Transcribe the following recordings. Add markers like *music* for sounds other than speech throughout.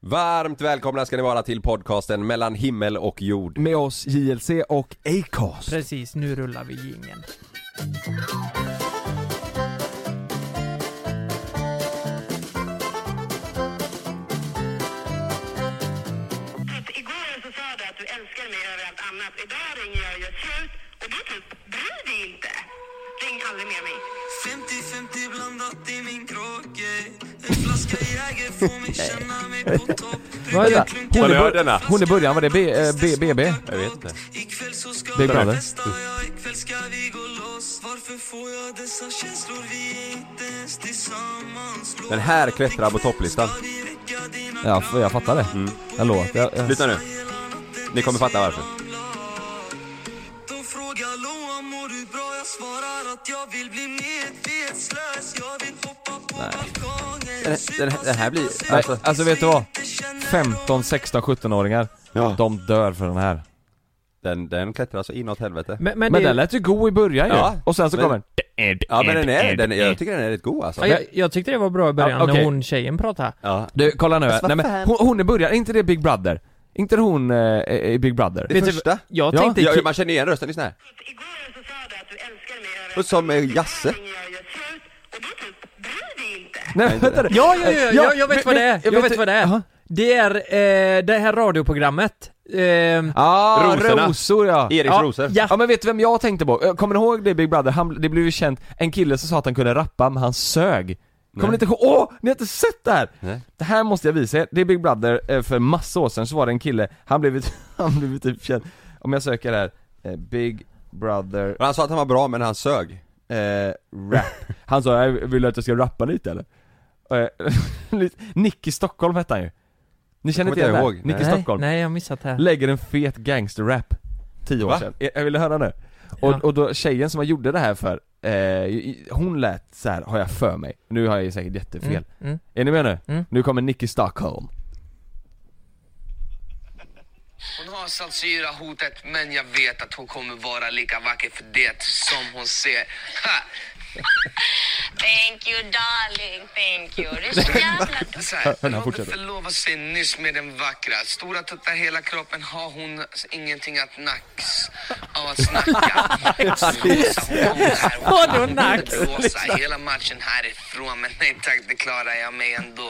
Varmt välkomna ska ni vara till podcasten mellan himmel och jord. Med oss JLC och Acast. Precis, nu rullar vi jingeln. Att igår så sa du att du älskar mig över allt annat. Idag ringer jag och gör slut och du typ bryr dig inte. Ring aldrig mer mig. 50-50 blandat i min kråke En flaska Jäger får mig känna mig på topp Vad är det? Hon Har ni i hört bör- denna? Hon i början, var det B, eh, B, BB? Jag vet inte. Ikväll så ska Big Brother. vi festa, ja ikväll ska vi gå loss Varför får jag dessa känslor? Vi är inte ens tillsammans Blå Den här klättrar på topplistan. vi väcka dina Ja, f- jag fattar det. Mm. Jag lovar. Jag, jag... Lyssna nu. Ni kommer fatta varför. De frågar Loa mår du bra? Jag svarar att jag vill bli medvetslös Jag vill hoppa på balkongen Den, den här blir... Nej, Alltså, alltså vet du vad? Det känner 15, 16, 17-åringar. Ja. De dör för den här. den, den klättrar så inåt helvete. Men, Men, det, den lät ju god i början ju. Ja, Och sen så men- kommer den. Ja men den är, den, är- jag tycker den är rätt god alltså. ja, jag, jag tyckte det var bra i början Ja, okej. när hon tjejen pratade. Ja. Du, kolla nu. Alltså, vad Nej, men, fan? hon, hon i början, är inte det Big Brother? Inte hon eh, i Big Brother? Det Vet du- första. Jag Ja, tänkte... Ja, man känner igen rösten, lyssna här. Att igår så sa du att du älskar mig över Och som är Jasse. Idag ringer jag och gör slut och du typ bryr dig inte. Nej, vänta nu. Ja, ja, ja, ja, jag, jag men- vet vad det är. Jag vet vad det Jaha. är. Det är eh, det här radioprogrammet. Eh, Ah, Rosorna. rosor ja. Eriks Ja, rosor. ja. Ja men vet du vem jag tänkte på? Eh, Kommer ni ihåg det Big Brother? Han, det blev ju känt, en kille som sa att han kunde rappa men han sög Kommer ni inte ihåg? Åh! Ni har inte sett det här! Nej. Det här måste jag visa er, det är Big Brother, eh, för massa år sedan så var det en kille, han blev, *laughs* han blev typ känd Om jag söker här, eh, Big Brother Men Han sa att han var bra men han sög. eh, rap Han sa "Jag vill du att jag ska rappa lite eller? Eh, *laughs* Nicky Stockholm hette han ju Ni känner kommer inte igen inte det? här? ihåg. Nicky nej, Stockholm nej, jag har missat det här. lägger en fet gangsterrap Tio år Va? sedan, Eh, jag jag ville höra nu och, Ja. och då tjejen som jag gjorde det här för, eh, i- hon lät så här har jag för mig Nu har jag ju säkert jättefel Mm, mm. Är ni med nu? Mm. Nu kommer Nicky Stockholm *laughs* Hon har satt syra hotet men jag vet att hon kommer vara lika vacker för det som hon ser. Ha! Thank you darling, thank you. Det är så jävla dumt. Så här, Hörna, hon hade fortsätt. förlovat sig nyss med den vackra. Stora tuttar hela kroppen har hon ingenting att nax av att snacka. Vadå nax? Blåsa hela matchen härifrån men nej tack det klarar jag mig ändå.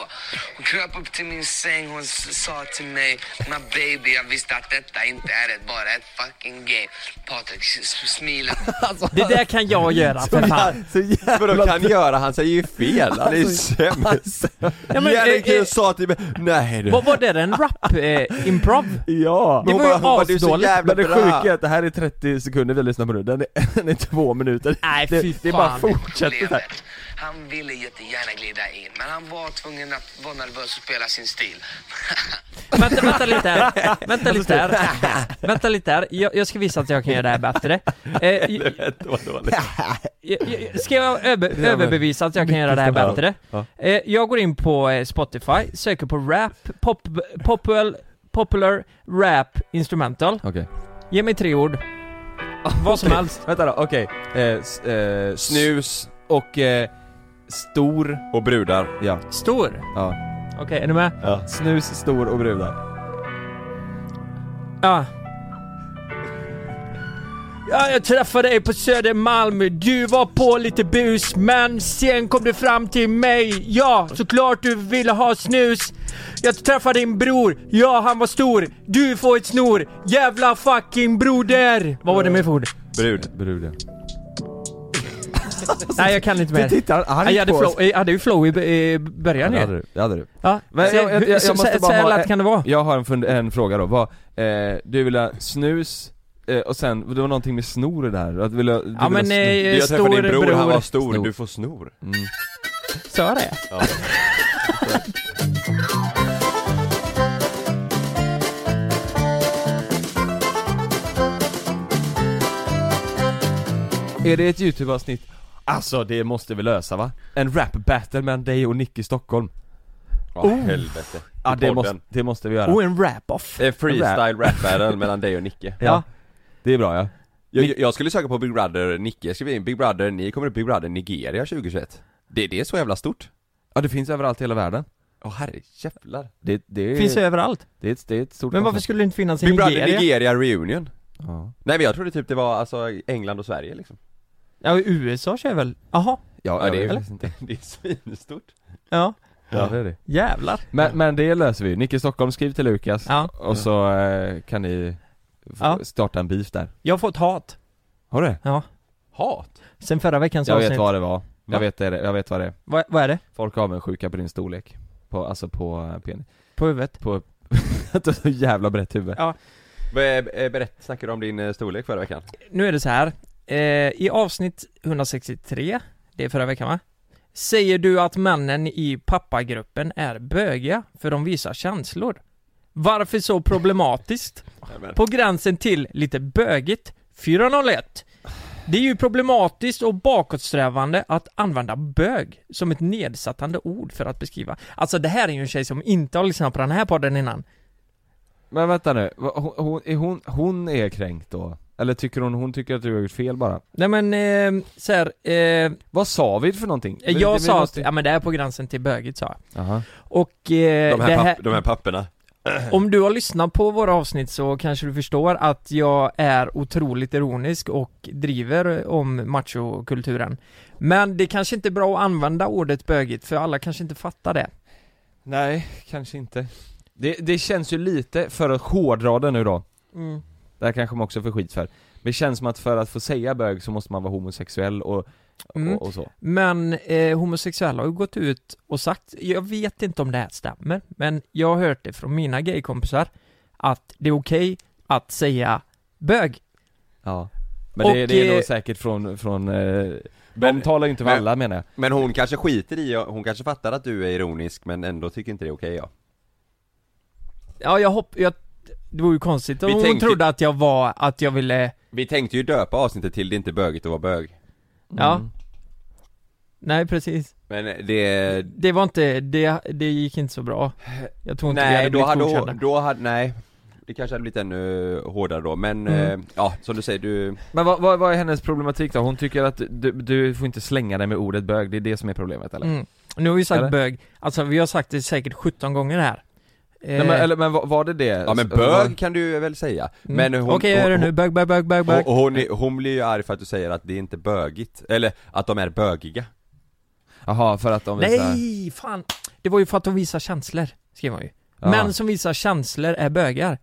Hon kröp upp till min säng hon s- sa till mig My baby jag visste att detta inte är ett, bara ett fucking game. Patrik s- smilet Det där kan jag göra för fan. Så Vadå *laughs* jävla kan göra? Han säger ju fel, han är ju sämst. Ja, men, Jerry eh, eh, Kill sa till mig, nej du. Vad var det? En eh, rap-improv? Ja! Det Hon var bara- ju hon bara, "Du är så asdåligt, jävla Men det bra." sjuka är att det här är 30 sekunder vi lyssnar på nu, den är, *laughs* den är två minuter Nej, det, fy det bara fan. fortsätter så här. problemet. Han ville jättegärna glida in, men han var tvungen att vara nervös och spela sin stil. Vänta, vänta lite här. Vänta lite här. Vänta lite här. Jag, jag ska visa att jag kan göra det här bättre. Eh, jag, jag, jag, ska jag över, överbevisa att jag kan göra det här bättre? Eh, jag går in på eh, Spotify, söker på rap, pop, popular, popular rap instrumental. Okej, Ge mig tre ord. Vad som helst. vänta då, okej eh, s- eh, Snus Snus och eh, stor, och brudar. ja, Stor. ja Okej, är ni med? Snus, stor och brudar. Ja. Ja, jag träffade dig på Södermalm. Du var på lite bus, men sen kom du fram till mig. Ja, såklart du ville ha snus. Jag träffade din bror. Ja, han var stor. Du får ett snor. Jävla fucking broder! Vad var det med för ord? Brud. Brud ja. Nej, jag kan inte mer. Titta, han Nej, Jag hade, flow, jag hade ju flow i, i början Det ju. hade du, det hade du. Ja, Men så, jag- jag- jag så, måste så, bara så här ha- lätt kan det vara. Jag har en, fund- en fråga då, vad, eh, du vill ha snus, eh, och sen, det var någonting med snor i det här, att du ville, du Ja ville men ha snus. eh, Jag stor träffade din bror, bror, han var stor, Snor. du får snor. sa jag det? Är det ett YouTube-avsnitt? Alltså det måste vi lösa va? En rap-battle mellan dig och Nicky Stockholm. Åh helvete. Ja I det podden. måste, det måste vi göra. Och en rap-off. Det är freestyle rap battle mellan dig och Nicke. ja. Det är bra ja. Jag, jag skulle söka på Big Brother Nicke, jag skrev in Big Brother, ni kommer upp Big Brother Nigeria 2021. Det, det är så jävla stort. Ja det finns överallt i hela världen. Åh herrejävlar. Det, det, Finns det, överallt. är ett, det är ett stort Men varför koncept. skulle det inte finnas i Big Brother Nigeria? Nigeria reunion. Ja. Nej men jag trodde typ det var alltså England och Sverige liksom. Ja, USA kör väl? Jaha. Ja, Ja, det är- jag vet inte. *laughs* *laughs* Det är svinstort. Ja. Ja, det är det. Jävlar. Men, men det löser vi. Nicke Stockholm, skriv till Lukas. Ja. Och så eh, kan ni f- Ja. starta en beef där. Jag har fått hat. Har du Ja. Hat? Sen förra veckans Jag avsnitt. vet vad det var. Va? Jag vet, det, jag vet vad det är. Vad, vad är det? Folk är avundsjuka på din storlek. På, alltså på eh, penis. På huvudet? På, *laughs* att du har så jävla brett huvud. Ja. Be- be- Berätt, snackade du om din eh, storlek förra veckan? Nu är det så här. Eh, I avsnitt 163, det är förra veckan va? Säger du att männen i pappagruppen är böga för de visar känslor? Varför så problematiskt? På gränsen till lite bögigt 401 Det är ju problematiskt och bakåtsträvande att använda bög som ett nedsättande ord för att beskriva Alltså det här är ju en tjej som inte har lyssnat på den här podden innan Men vänta nu, Va- hon, hon, är hon, hon är kränkt då? Eller tycker hon, hon tycker att du har gjort fel bara? Nej men eh, så här, eh, Vad sa vi för någonting? Vi- jag vi sa att, måste- ja men det är på gränsen till bögigt sa jag Aha. Och eh, De här, det här, papp- de här papperna. om du har lyssnat på våra avsnitt så kanske du förstår att jag är otroligt ironisk och driver om machokulturen. Men det kanske inte är bra att använda ordet bögigt för alla kanske inte fattar det. Nej, kanske inte. Det, det känns ju lite, för att hårdra det nu då, det här kanske man också får skit för. Men det känns som att för att få säga bög så måste man vara homosexuell och, Mm. och, och så. Men eh, homosexuella har ju gått ut och sagt, jag vet inte om det här stämmer, men jag har hört det från mina gaykompisar att det är okej att säga bög. Ja. Men Och, det, det är eh, nog säkert från, från eh, Men- de talar ju inte med men- alla menar jag. Men hon kanske skiter i, hon kanske fattar att du är ironisk men ändå tycker inte det är okej ja. Ja, jag hopp... Jag, det vore ju konstigt om Vi hon tänkte- trodde att jag var, att jag ville, Vi tänkte ju döpa avsnittet till det är inte bögigt att vara bög. ja. Mm. Nej, precis. Men det... Det var inte, det, det gick inte så bra. Jag tror inte vi hade Nej, då blivit hade, godkända. hon- då hade, nej. Det kanske hade blivit ännu hårdare då men, Mm. eh, ja som du säger du, Men vad, vad, vad är hennes problematik då? Hon tycker att du, du får inte slänga dig med ordet bög, det är det som är problemet eller? Mm. Nu har vi sagt Eller? bög, alltså vi har sagt det säkert 17 gånger här. Eh, Nej, men, eller, men var, var det det? ja men bög Alltså, kan du väl säga? Men mm. hon, Okej, jag gör det hon, nu. Bög, bög, bög, bög, hon, bög. hon, hon, är- hon blir ju arg för att du säger att det är inte bögigt, eller att de är bögiga Jaha, för att de visar... Nej, fan! Det var ju för att de visar känslor, skrev man ju. Ja. Män som visar känslor är bögar.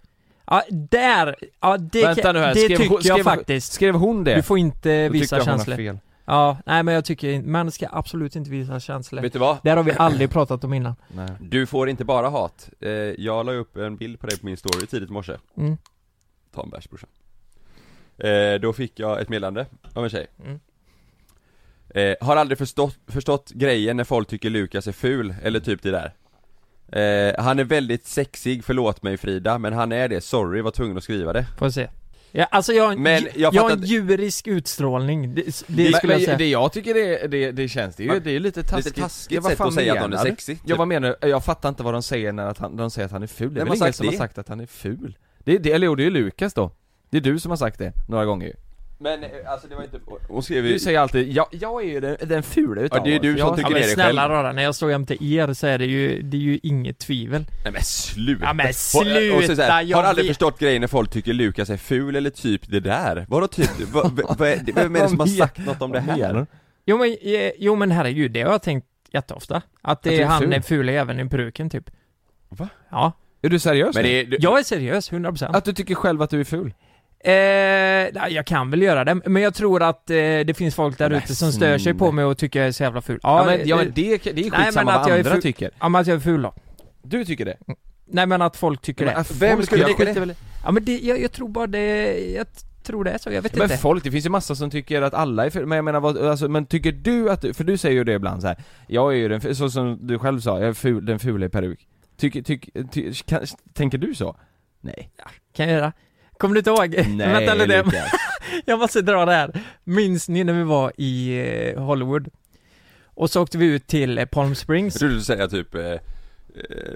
Ja, där! Ja, det, Vänta nu här, det skrev, tycker hon- skrev, jag faktiskt. Skrev hon det? Du får inte Då tyckte visa jag hon har känslor. fel. Ja, nej men jag tycker inte, män ska absolut inte visa känslor. Vet du vad? Det här har vi *laughs* aldrig pratat om innan. Nej. Du får inte bara hat. Eh, jag la upp en bild på dig på min story tidigt i morse. Mm. Ta en bärs brorsan. Eh, då fick jag ett meddelande av en tjej. Mm. Eh, har aldrig förstått, förstått grejen när folk tycker Lukas är ful, eller typ det där. Eh, han är väldigt sexig, förlåt mig Frida, men han är det, sorry, var tvungen att skriva det. Får jag se. Ja, alltså jag, har en- Men jag jag, har en fattar- djurisk utstrålning, det, det Men- skulle jag men säga. Det jag tycker det, det, det känns, det är ju det är ju lite taskigt. Lite Ja, taskigt vad sätt fan att säga att menar han är du? sexig. typ. Ja vad menar du? Jag fattar inte vad de säger när att han, när de säger att han är ful. Det är Vem väl har ingen sagt som det? har sagt att han är ful? Det är, det, eller jo, det är Lukas då. Det är du som har sagt det, några gånger ju. Men eh, alltså det var inte... Hon skrev Du ju... säger alltid, jag, jag är ju den, den fula utav Ja, det är oss." du som Jag- tycker ja, men det snälla själv. rara, när jag står jämte er så är det ju, det är ju inget tvivel. Nej men sluta! Ja, men Och- och så så sluta, här, jag Har aldrig vet- förstått grejen när folk tycker Lukas är ful eller typ det där? Vadå typ? *laughs* Vad, vad, vad, är det- vem är det som har Vad sagt något om det Vad menar här? du? Jo men, eh, jo men herregud, det har jag tänkt jätteofta. Att det Att du är är han ful. är ful även i peruken typ. Va? Ja. Är du seriös Men nu? det är, du, Jag är seriös, 100%. procent. Att du tycker själv att du är ful? Eh, nej, jag kan väl göra det, men jag tror att eh, det finns folk där Men ute som stör sig på mig och tycker jag är så jävla ful. Ja, men, ja, eh, men det, det är skitsamma men vad att jag är andra ful- tycker. ja, men att jag är ful då. Du tycker det? Nej men att folk tycker det. Men, Vem folk- skulle jag tycka skiter det? väl i- Ja men det, jag, jag tror bara det, jag t- tror Typ det är så, jag vet Men inte. folk, det finns ju massa som tycker att alla är fula, men jag menar vad, alltså, men tycker du att du, för du säger ju det ibland så här. jag är ju den, fu- så som du själv sa, jag är ful, den fula i peruk. Tycker, tyck, ty, kan, tänker du så? Nej. Kan jag göra? Kommer du inte ihåg? *laughs* Vänta lite, Lukas. jag måste dra det här. Minns ni när vi var i eh, Hollywood? Och så åkte vi ut till eh, Palm jag Springs. *laughs* trodde du skulle säga typ eh, eh,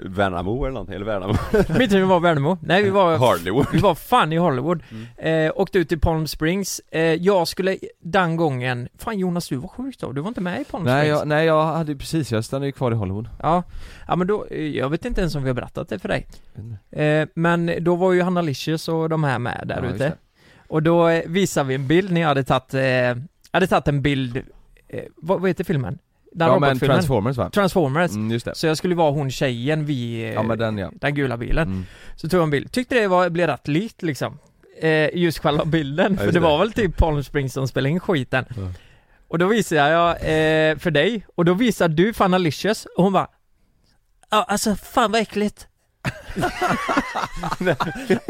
Värnamo eller någonting, eller Värnamo Mitt huvud var Värnamo. Nej *laughs* vi var, Harleywood vi var fan i Hollywood. Mm. Eh, åkte ut till Palm Springs. Eh, jag skulle den gången, fan Jonas du var sjuk då, du var inte med i *laughs* Palm Nej Springs. jag, nej jag hade ju precis, jag stannade ju kvar i Hollywood Ja, ja men då, eh, jag vet inte ens om vi har berättat det för dig. Mm. Eh, men då var ju Hanna Licious och de här med där Ja, just ute. det. Och då eh, visade vi en bild när jag hade tagit, eh, jag hade tagit en bild, eh, vad, vad heter filmen? Den Ja men robotfilmen. Transformers va? Transformers. Mm, just det Så jag skulle vara hon tjejen vid eh, Ja men den ja den gula bilen. Mm. Så tog jag en bild, tyckte det var, blev rätt likt liksom eh, Just själva bilden, för just det det. var väl typ Palm Springs som spelade in skiten Och då visade jag eh, för dig, och då visade du Fanna Licious och hon bara Ja alltså fan *laughs* vad äckligt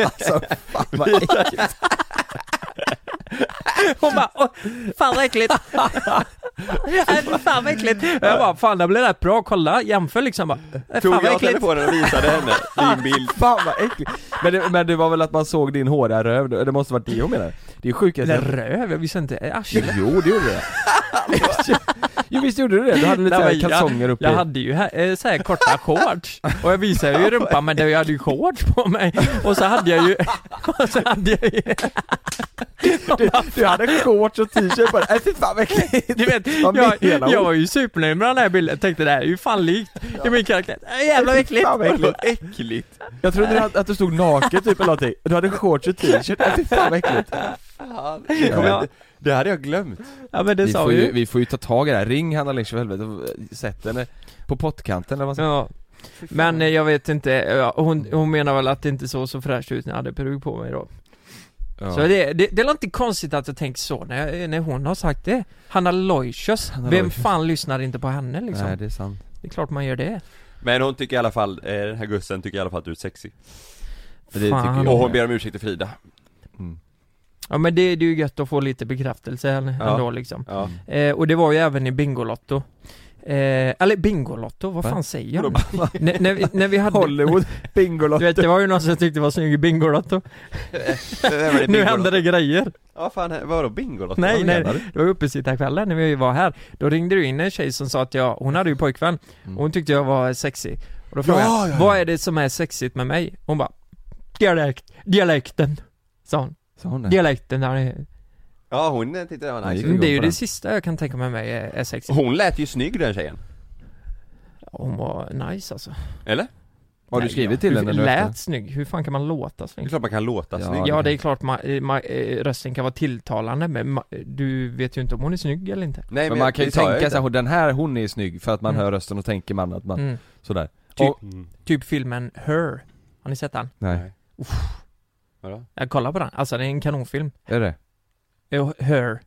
Alltså, Vad äckligt. *laughs* Hon bara "Åh, fan *laughs* vad äckligt Nej, fy Fan vad äckligt Och Jag bara fan det blev rätt bra, kolla, jämför liksom bara "Fan, Tog vad jag äckligt." telefonen och visade henne *laughs* din bild Fan vad äckligt! Men det, men det var väl att man såg din håriga röv, då? det måste varit det hon menade? Det är sjukt att Eller jag... röv, jag visste inte, eh, arslet Jo det gjorde det! jo visst gjorde du det? Du hade lite *laughs* Nej, såhär men jag- kalsonger uppe Jag i- hade ju här, eh, så här korta shorts och jag visade ju rumpan men det- jag hade ju shorts på mig och så hade jag ju, *laughs* och så hade jag ju du, *laughs* du hade shorts och t-shirt på dig, Nej, fy fan vad äckligt! *laughs* Du vet, Vad jag, menar hon? jag var ju supernöjd med den här bilden, tänkte det här är ju fan likt, det är min karaktär, Äh, jävla äckligt! Fan vad äckligt! Äckligt! Jag trodde att, att du stod naken typ eller någonting, du hade shorts och t-shirt, Nej, fy fan vad äckligt! Det, kommer Ja. inte- det hade jag glömt Ja men det vi, sa får vi ju, ju. vi får ju ta tag i det här, ring Hanna Lynch för helvete, och eh, sätt henne på pottkanten eller vad man säger Ja. Men eh, jag vet inte, ja, hon, hon menar väl att det inte såg så fräscht ut när jag hade peruk på mig då. Ja. Så det, det, det är väl inte konstigt att jag tänker så när, jag, när hon har sagt det. Hanna Loisius, Hanna vem Aloysius. fan lyssnar inte på henne liksom? Nej det är sant Det är klart man gör det. Men hon tycker i alla fall, eh, den här gussen tycker i alla fall att du är sexig Det tycker Fan. Och hon ber om ursäkt till Frida Ja men det, det är ju gött att få lite bekräftelse än- Ja. ändå liksom. Ja, Eh, och det var ju även i Bingolotto. Eh, eller Bingolotto, vad Va? fan säger jag? *laughs* när, när, vi, när vi *laughs* hade... Hollywood, Bingolotto Du vet, det var ju någon som tyckte det var snygg i Bingolotto. *laughs* Nu hände det grejer. Ja fan, vadå bingolotto? Nej, nej. menar du? Det var ju uppesittarkvällen när vi var här. Då ringde du in en tjej som sa att jag, hon hade ju pojkvän. Och hon tyckte jag var sexig. Och då frågade Mm. Ja, jag, ja, vad är det som är sexigt med mig? Hon bara, dialekt, dialekten. Sa hon. Sa hon det? Dialekten, där är... Ja hon eh, tyckte det var nice Mm. Det är ju på den. det sista jag kan tänka mig mig är är sexigt. Hon lät ju snygg den tjejen, Hon var nice alltså. eller? Har du Nej, skrivit till Hur- henne nu Lät efter? snygg, hur fan kan man låta Det är snygg? klart man kan låta Ja. snygg Ja det är klart man, eh, man, eh, rösten kan vara tilltalande men ma- eh, du vet ju inte om hon är snygg eller inte. Nej Men man kan ju det sa jag tänka inte. sig, den här hon är snygg för att man Mm. hör rösten och tänker man att man, Mm. sådär Typ- Och- Typ filmen Her, har ni sett den? Nej, Vadå? Jag kollar på den, alltså det är en kanonfilm. är det? Eh, Her,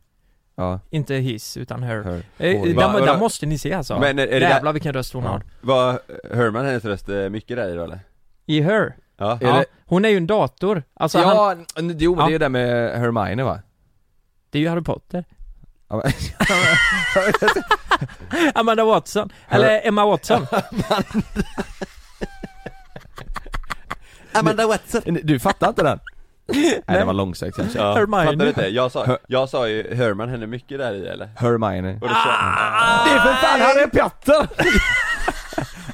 ja, inte his utan her. hör Eh, Oj. Den, Va- den vadå? måste ni se alltså. Men eh, är, är det där, Jävlar vilken röst hon Ja. har. var Herman hennes röst eh, mycket där i då eller? I Her, Ja, Är ja, det- hon är ju en dator. Alltså han, Ja, n- jo men Ja. det är ju det med Hermione va? det är ju Harry Potter. Ja, men- *laughs* *laughs* Amanda Watson, eller Emma *laughs* Watson. Amanda Watson! Du fattar inte den? Nej den var långsökt kanske Ja, Hermione. fattar du inte? Jag sa, Her- jag sa ju Herman henne mycket där i eller? Hermione Och då Ah! sa Det är för fan Harry Potter!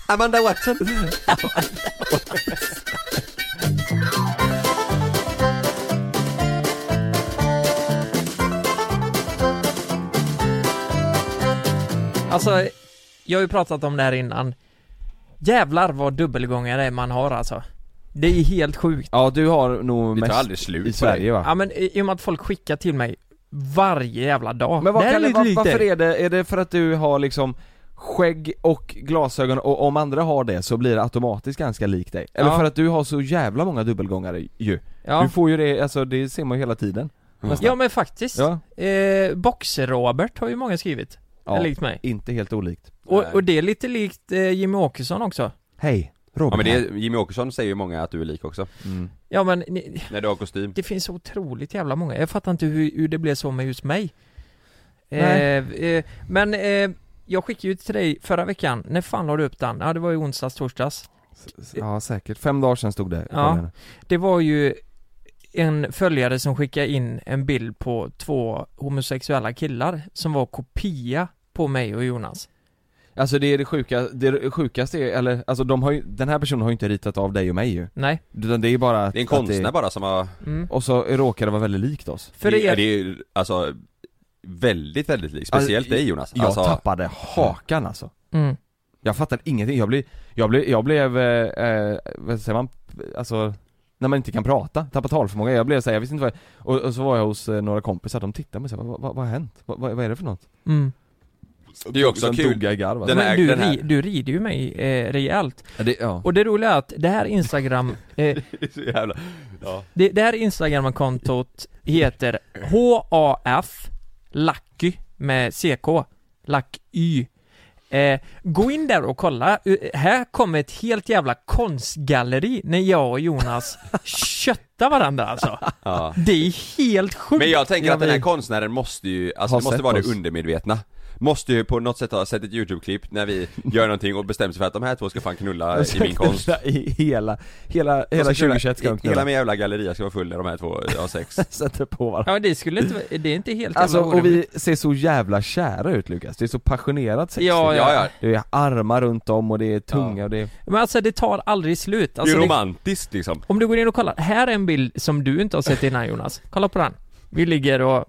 Amanda Watson! Alltså, jag har ju pratat om det här innan. Jävlar vad dubbelgångare man har alltså. Det är helt sjukt. Ja du har nog Det tar mest aldrig slut i på dig. Sverige va? Ja men i i och med att folk skickar till mig varje jävla dag. Men vad det här kan, är det- lite vad, likt varför det. är det, är det för att du har liksom skägg och glasögon och om andra har det så blir det automatiskt ganska likt dig? Eller Ja. för att du har så jävla många dubbelgångare ju? Ja. Du får ju det, alltså det ser man ju hela tiden nästan. ja men faktiskt. Ja. Eh, Boxer-Robert har ju många skrivit. Ja. Är likt mig. Inte helt olikt Och, Nej. och det är lite likt eh, Jimmy Åkesson också. Hej, Ja Robert men det, är- Jimmy Åkesson säger ju många att du är lik också, mm. Ja men ni, när du har kostym det finns otroligt jävla många. Jag fattar inte hur, hur det blev så med just mig. Nej. Eh, eh, men eh, jag skickade ju till dig förra veckan. När fan la du upp den? Ja det var ju onsdags, torsdags. Ja säkert, fem dagar sedan stod det Ja. Det var ju en följare som skickade in en bild på två homosexuella killar som var kopia på mig och Jonas. Alltså det är det sjuka, det sjukaste är, eller alltså de har ju, den här personen har ju inte ritat av dig och mig ju Nej. Utan det är bara att, Det är en att konstnär bara som har, Mm. Och så råkar det vara väldigt likt oss För det, er, är, det är ju alltså väldigt, väldigt likt, Alltså, speciellt dig Jonas Jag alltså, tappade hakan alltså Mm. Jag fattade ingenting, jag blev, jag blev, jag blev, eh, eh, vad säger man, alltså när man inte kan prata, tappar talförmåga, jag blev såhär, jag visste inte vad jag, och, och så var jag hos eh, några kompisar, de tittade på mig och sa, vad, vad, vad har hänt? Vad, vad vad är det för något? Mm. Det är ju också Sen dog kul, jag i garv alltså. Den här- Men du, den här- ri, du rider ju mig eh, rejält. Ja, det, *laughs* ja. Och det roliga är att det här instagram, eh, *laughs* det är så jävla, ja. det, det här instagramkontot heter HAF Lucky med CK, Lucky. Eh, gå in där och kolla, Eh, här kommer ett helt jävla konstgalleri när jag och Jonas köttar varandra alltså. *laughs* ja. Det är helt sjukt! Men jag tänker Ja, att den här men- konstnären måste ju, alltså Har det måste sett vara det oss. undermedvetna Måste ju på något sätt ha sett ett YouTube-klipp när vi gör någonting och bestämt sig för att de här två ska fan knulla i min konst *laughs* I hela, hela, De hela ska knulla- 2021 ska de i- Hela knulla. min jävla galleria ska vara full där de här två har sex *laughs* Sätter på varandra. Ja men det skulle inte, vara- det är inte helt Alltså, jävla och orimligt. vi ser så jävla kära ut Lukas, det är så passionerat sex Ja, Ja, ja. Det är armar runt om och det är tunga Ja. och det är... Men alltså det tar aldrig slut. Det är Alltså, ju det, romantiskt liksom om du går in och kollar, här är en bild som du inte har sett innan Jonas. Kolla på den. Vi ligger och...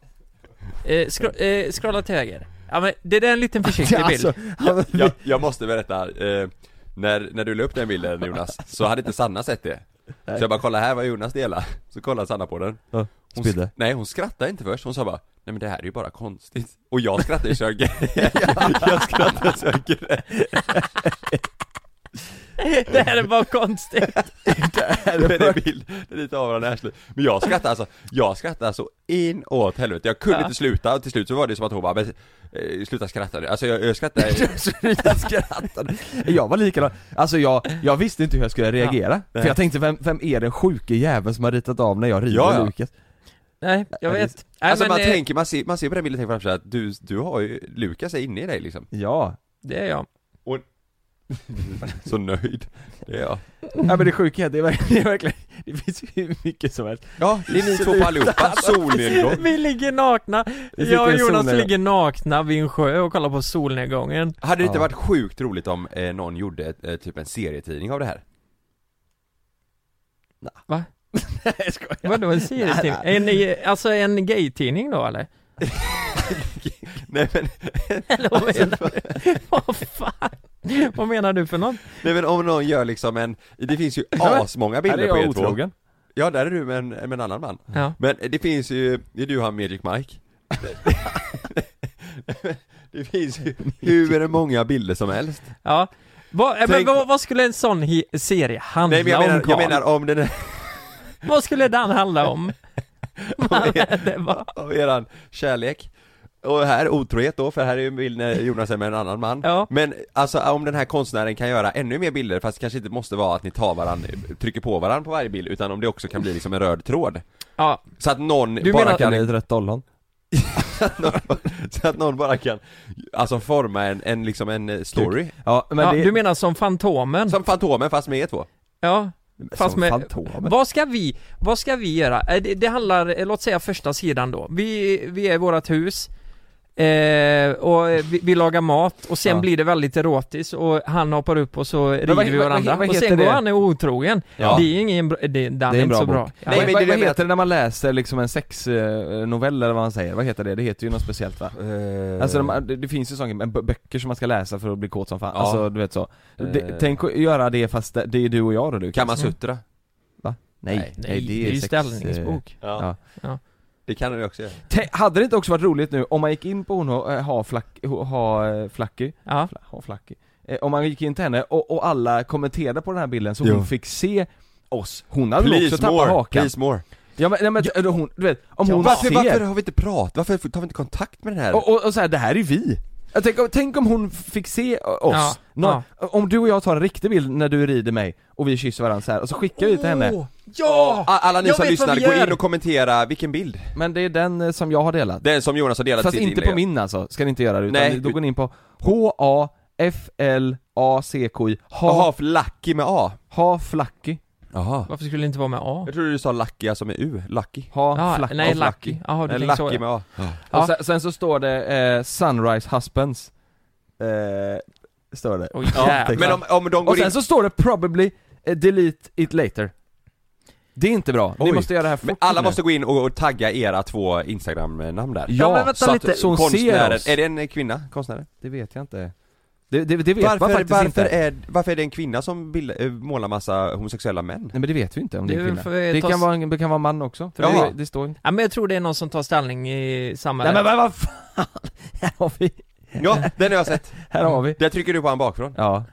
Eh, skro, eh, scrolla till höger. Ja men det där är en liten försiktig bild. Alltså, *laughs* ja, jag, jag måste berätta, eh, när, när du la upp den bilden Jonas, så hade inte Sanna sett det Så jag bara kolla här vad Jonas delar, så kollade Sanna på den ja, hon, spydde. sk- Nej hon skrattade inte först, hon sa bara Nej men det här är ju bara konstigt Och jag skrattade ju så jag grät. *laughs* Jag skrattade så jag grät. *laughs* Det här är bara konstigt. Det är en bild, det är lite av varandra i arslet. Men jag skrattade alltså, jag skrattade så inåt helvete Jag kunde Ja. inte sluta, och till slut så var det som att hon bara men, eh, Sluta skratta nu, alltså jag, jag skrattade jag skrattade. Jag var likadan, alltså jag, jag visste inte hur jag skulle reagera. För jag tänkte, vem, vem är den sjuke jäveln som har ritat av när jag rider Ja, ja. Lukas? Nej, jag vet. Nej, Äh, Alltså man eh, tänker, man ser, man ser på den bilden och tänker framför sig att du, du har ju, Lukas är inne i dig *laughs* liksom Ja. Det är jag. Så nöjd, det är jag ja, men det sjuka är, det är verkligen, *laughs* det, är verkligen, det finns ju hur mycket som helst. Ja, det är ni två på allihopa, *laughs* solnedgång Vi ligger nakna. sitter Jag och en Jonas solnedgång. ligger nakna vid en sjö och kollar på solnedgången. Hade det inte Ja. varit sjukt roligt om eh, någon gjorde ett, eh, typ en serietidning av det här? Va? Nej, jag skojar. Vadå en serietidning? En, eh, alltså en gaytidning då eller? *laughs* Nej men, Eller vad menar du? *laughs* Vad fan? Vad menar du för något? nej men om någon gör liksom en, det finns *laughs* ju asmånga Här är bilder på jag er två otrogen. Ja där är du med en, med en annan man Ja. Men det finns ju, det är du han Magic *laughs* Mike Det finns ju hur många bilder som helst Ja. Vad, eh, men Tänk- vad, vad skulle en sån hi- serie handla Nej men jag om menar, jag Carl? menar om den Vad skulle den handla om? Om er- det var... av eran kärlek och här otrohet då, för här är ju en bild när Jonas är med en annan man Ja. Men alltså om den här konstnären kan göra ännu mer bilder fast det kanske inte måste vara att ni tar varandra, trycker på varandra på varje bild utan om det också kan bli liksom en röd tråd Ja, Så att någon Du bara menar- Kan det kan, *laughs* ett rött ollon? så att någon bara kan Alltså forma en, en liksom en eh, story Ja, men ja det... du menar som Fantomen? Som Fantomen fast med er två Ja. Fast som med, Fantomen. vad ska vi, vad ska vi göra? Eh, Det, det handlar, eh, låt säga första sidan då. Vi, vi är i vårat hus eh, och eh, vi, vi lagar mat och sen Ja. blir det väldigt erotiskt och han hoppar upp och så rider vad- vi vad- varandra vad och heter sen går det? han och är otrogen. Ja. Det är ingen bra, det, den är, en inte bra så bra. bok. Ja. Nej, Nej, men vad, det vad jag heter det när man läser liksom en sexnovell eller vad man säger? Vad heter det? Det heter ju något speciellt va? Alltså de, det, det finns ju saker, men bö- böcker som man ska läsa för att bli kåt som fan, Eh. Ja. alltså du vet så det, Eh. Tänk att göra det fast det, det är du och jag då du Kan man suttra? Nej, Nej, nej, Nej, det är ju sex, eh, ställningsbok. Ja. Det kan du också göra Tänk- Hade det inte också varit roligt nu om man gick in på hon och eh, ha flack, ho- ha eh, flacky, Ja. Fla- ha flacky Eh, Om man gick in till henne och, och alla kommenterade på den här bilden så Jo. hon fick se oss, hon hade väl också Please tappat more, hakan please more Ja men, nej, men eh, hon, du vet, om hon varför, ser varför har vi inte pratat? Varför tar vi inte kontakt med den här? Och, och, och så här, det här är vi! Jag tänk, tänk om hon fick se eh, oss, Ja, Nå- om du och jag tar en riktig bild när du rider mig och vi kysser varandra så här och så skickar vi till henne Åh, Ja! A- Alla ni Jag som vet vad lyssnar, vi gå gör. in och kommentera vilken bild Men det är den eh, som jag har delat Den som Jonas har delat i Fast sitt inte på inlägg. min alltså, ska ni inte göra det utan Nej. Nej. då går ni in på H-A-F-L-A-C-K-I Jaha, Ha, för Lucky med A ha flacky, Jaha Varför skulle det inte vara med A? Jag trodde du sa Lucky alltså med U, Lucky ha Ja, flacky nej, Ha flack. Lucky. Jaha, du Nej, tänker så Lucky ja. med A Och sen, sen så står det eh, Sunrise Husbands eh, står det. Åh, Ja, jävlar. men om, om de går Och in... sen så står det 'probably eh, delete it later' Det är inte bra, ni Oj. måste göra det här fort Men alla nu. måste gå in och, och tagga era två Instagram-namn där. Ja, Ja, men vänta så, lite. att, så hon ser Konstnären, oss är det en eh, kvinna? Konstnären? Det vet jag inte Det, det, det vet man Varför, faktiskt varför, inte är, varför är det en kvinna som bild, eh, målar massa homosexuella män? Nej men det vet vi inte om det är Det en kvinna får vi Det ta kan s- vara, en- det kan vara en man också, för Jaha. det, det står inte Ja, men jag tror det är någon som tar ställning i Nej samhället. men vad vad fan! *laughs* Här har vi, *laughs* Ja, den har jag sett! här har vi Där trycker du på han bakifrån. Ja,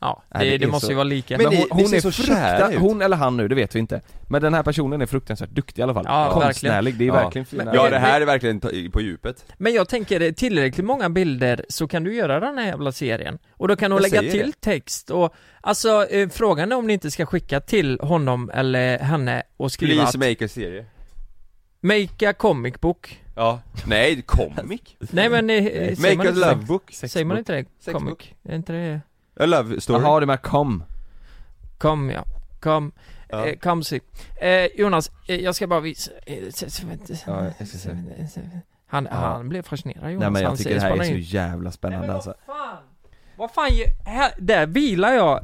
ja, det, Nej, det det, är måste så- ju vara lika. Men men ni- hon, ni hon ser är så kära fruktansvärt, ut. hon eller han nu, det vet vi inte Men den här personen är fruktansvärt duktig i alla fall, Ja, konstnärlig, det är Ja. verkligen fina Ja, det här är verkligen ta- på djupet. Men jag tänker, eh, tillräckligt många bilder så kan du göra den här jävla serien. Och då kan du Jag lägga säger till text och, alltså eh, frågan är om ni inte ska skicka till honom eller henne och skriva Please att make a serie. Make a comic book. Ja. Nej, comic? *laughs* Nej men, eh, eh, säger man Make a inte love det? book? Säger man inte det? Sexbook. Comic? Är inte det? A love story? Jaha, det med kom Kom ja, kom. Ja. Eh, kom se. Eh, Jonas, eh, jag ska bara visa. eh, se- se- vänta, se- Ja, jag ska se. Han, Ja. han blev fascinerad Jonas. Nej men han jag tycker ser- det här är spelar så ingen- jävla spännande alltså fan! Vad fan, ge- här, där vilar jag.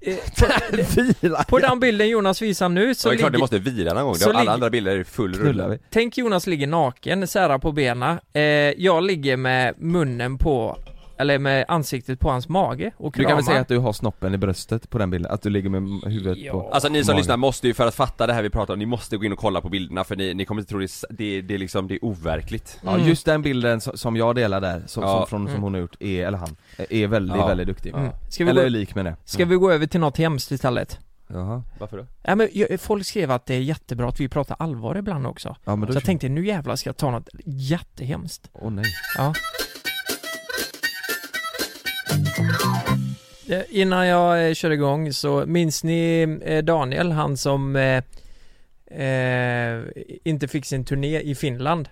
Eh, *laughs* på, Vila! på den bilden Jonas visar nu Så så det är klart det ligger, måste vila någon gång, så alla ligger- andra bilder är full Knullar rulle vi? tänk Jonas ligger naken, särar på benen. Eh, jag ligger med munnen på, eller med ansiktet på hans mage och Du kramar. kan väl säga att du har snoppen i bröstet på den bilden, att du ligger med huvudet Ja. på Alltså ni som Magen. lyssnar måste ju för att fatta det här vi pratar om, ni måste gå in och kolla på bilderna för ni, ni kommer inte tro det, är s- det, det är liksom, det är overkligt Ja, just den bilden so- som jag delar där, så, Ja. som, från, som hon har gjort, är, eller han, är väldigt, Ja. väldigt duktig Mm. Ska vi Eller gå- är lik med det Ska vi gå över till något hemskt istället? Jaha. Varför då? Ja, men jag- folk skrev att det är jättebra att vi pratar allvar ibland också. Ja men då Så jag tänkte nu jävlar ska jag ta något jättehemskt. Åh nej Ja. Eh, Innan jag eh, kör igång så minns ni eh, Daniel, han som eh, eh, inte fick sin turné i Finland?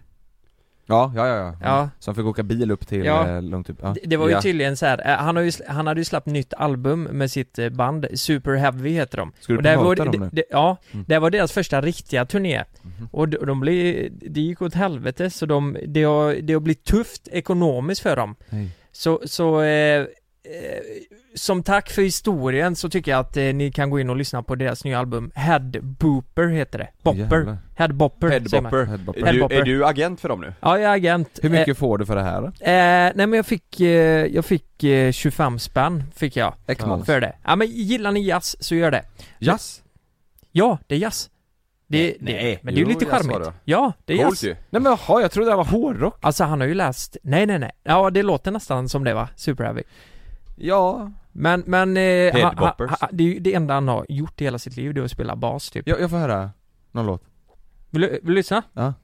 Ja, ja, ja, ja. Ja. Som fick åka bil upp till, Ja. eh, långt upp, Mm. ja. Det, det var ju Ja. tydligen så här, eh, han, har ju, sl- han hade ju släppt nytt album med sitt eh, band, Super Heavy heter de. Ska du Och där var, promota dem det- nu? det- Ja, Mm. Mhm. det var deras första riktiga turné. Och de, de blev, det gick åt helvete så de, det har, det har blivit tufft ekonomiskt för dem. Nej. Så, så eh, eh, som tack för historien så tycker jag att eh, ni kan gå in och lyssna på deras nya album Head Booper heter det. Bopper. Jävlar. Head Bopper. säger man. Headbopper, Headbopper. Är, du, Headbopper. är du agent för dem nu? Ja, jag är agent. Hur mycket får du för det här då? Eh, eh, nej men jag fick, eh, jag fick eh, 25 spänn fick jag Ekmans? för det. Ja men gillar ni jazz så gör det. Jazz? Ja, det är jazz. Det, Nej, det, nej. men det är ju Jo, lite jazz var charmigt. det. Ja, det är jazz. Coolt ju! Nej men jaha, jag trodde det var hårdrock Alltså han har ju läst, nej nej nej, ja det låter nästan som det va, Super Heavy Ja Men, men, eh, han, han, Headboppers. han, det, är ju det enda han har gjort i hela sitt liv, det är att spela bas typ Jag, jag får höra någon låt vill, du- vill du lyssna? Ja.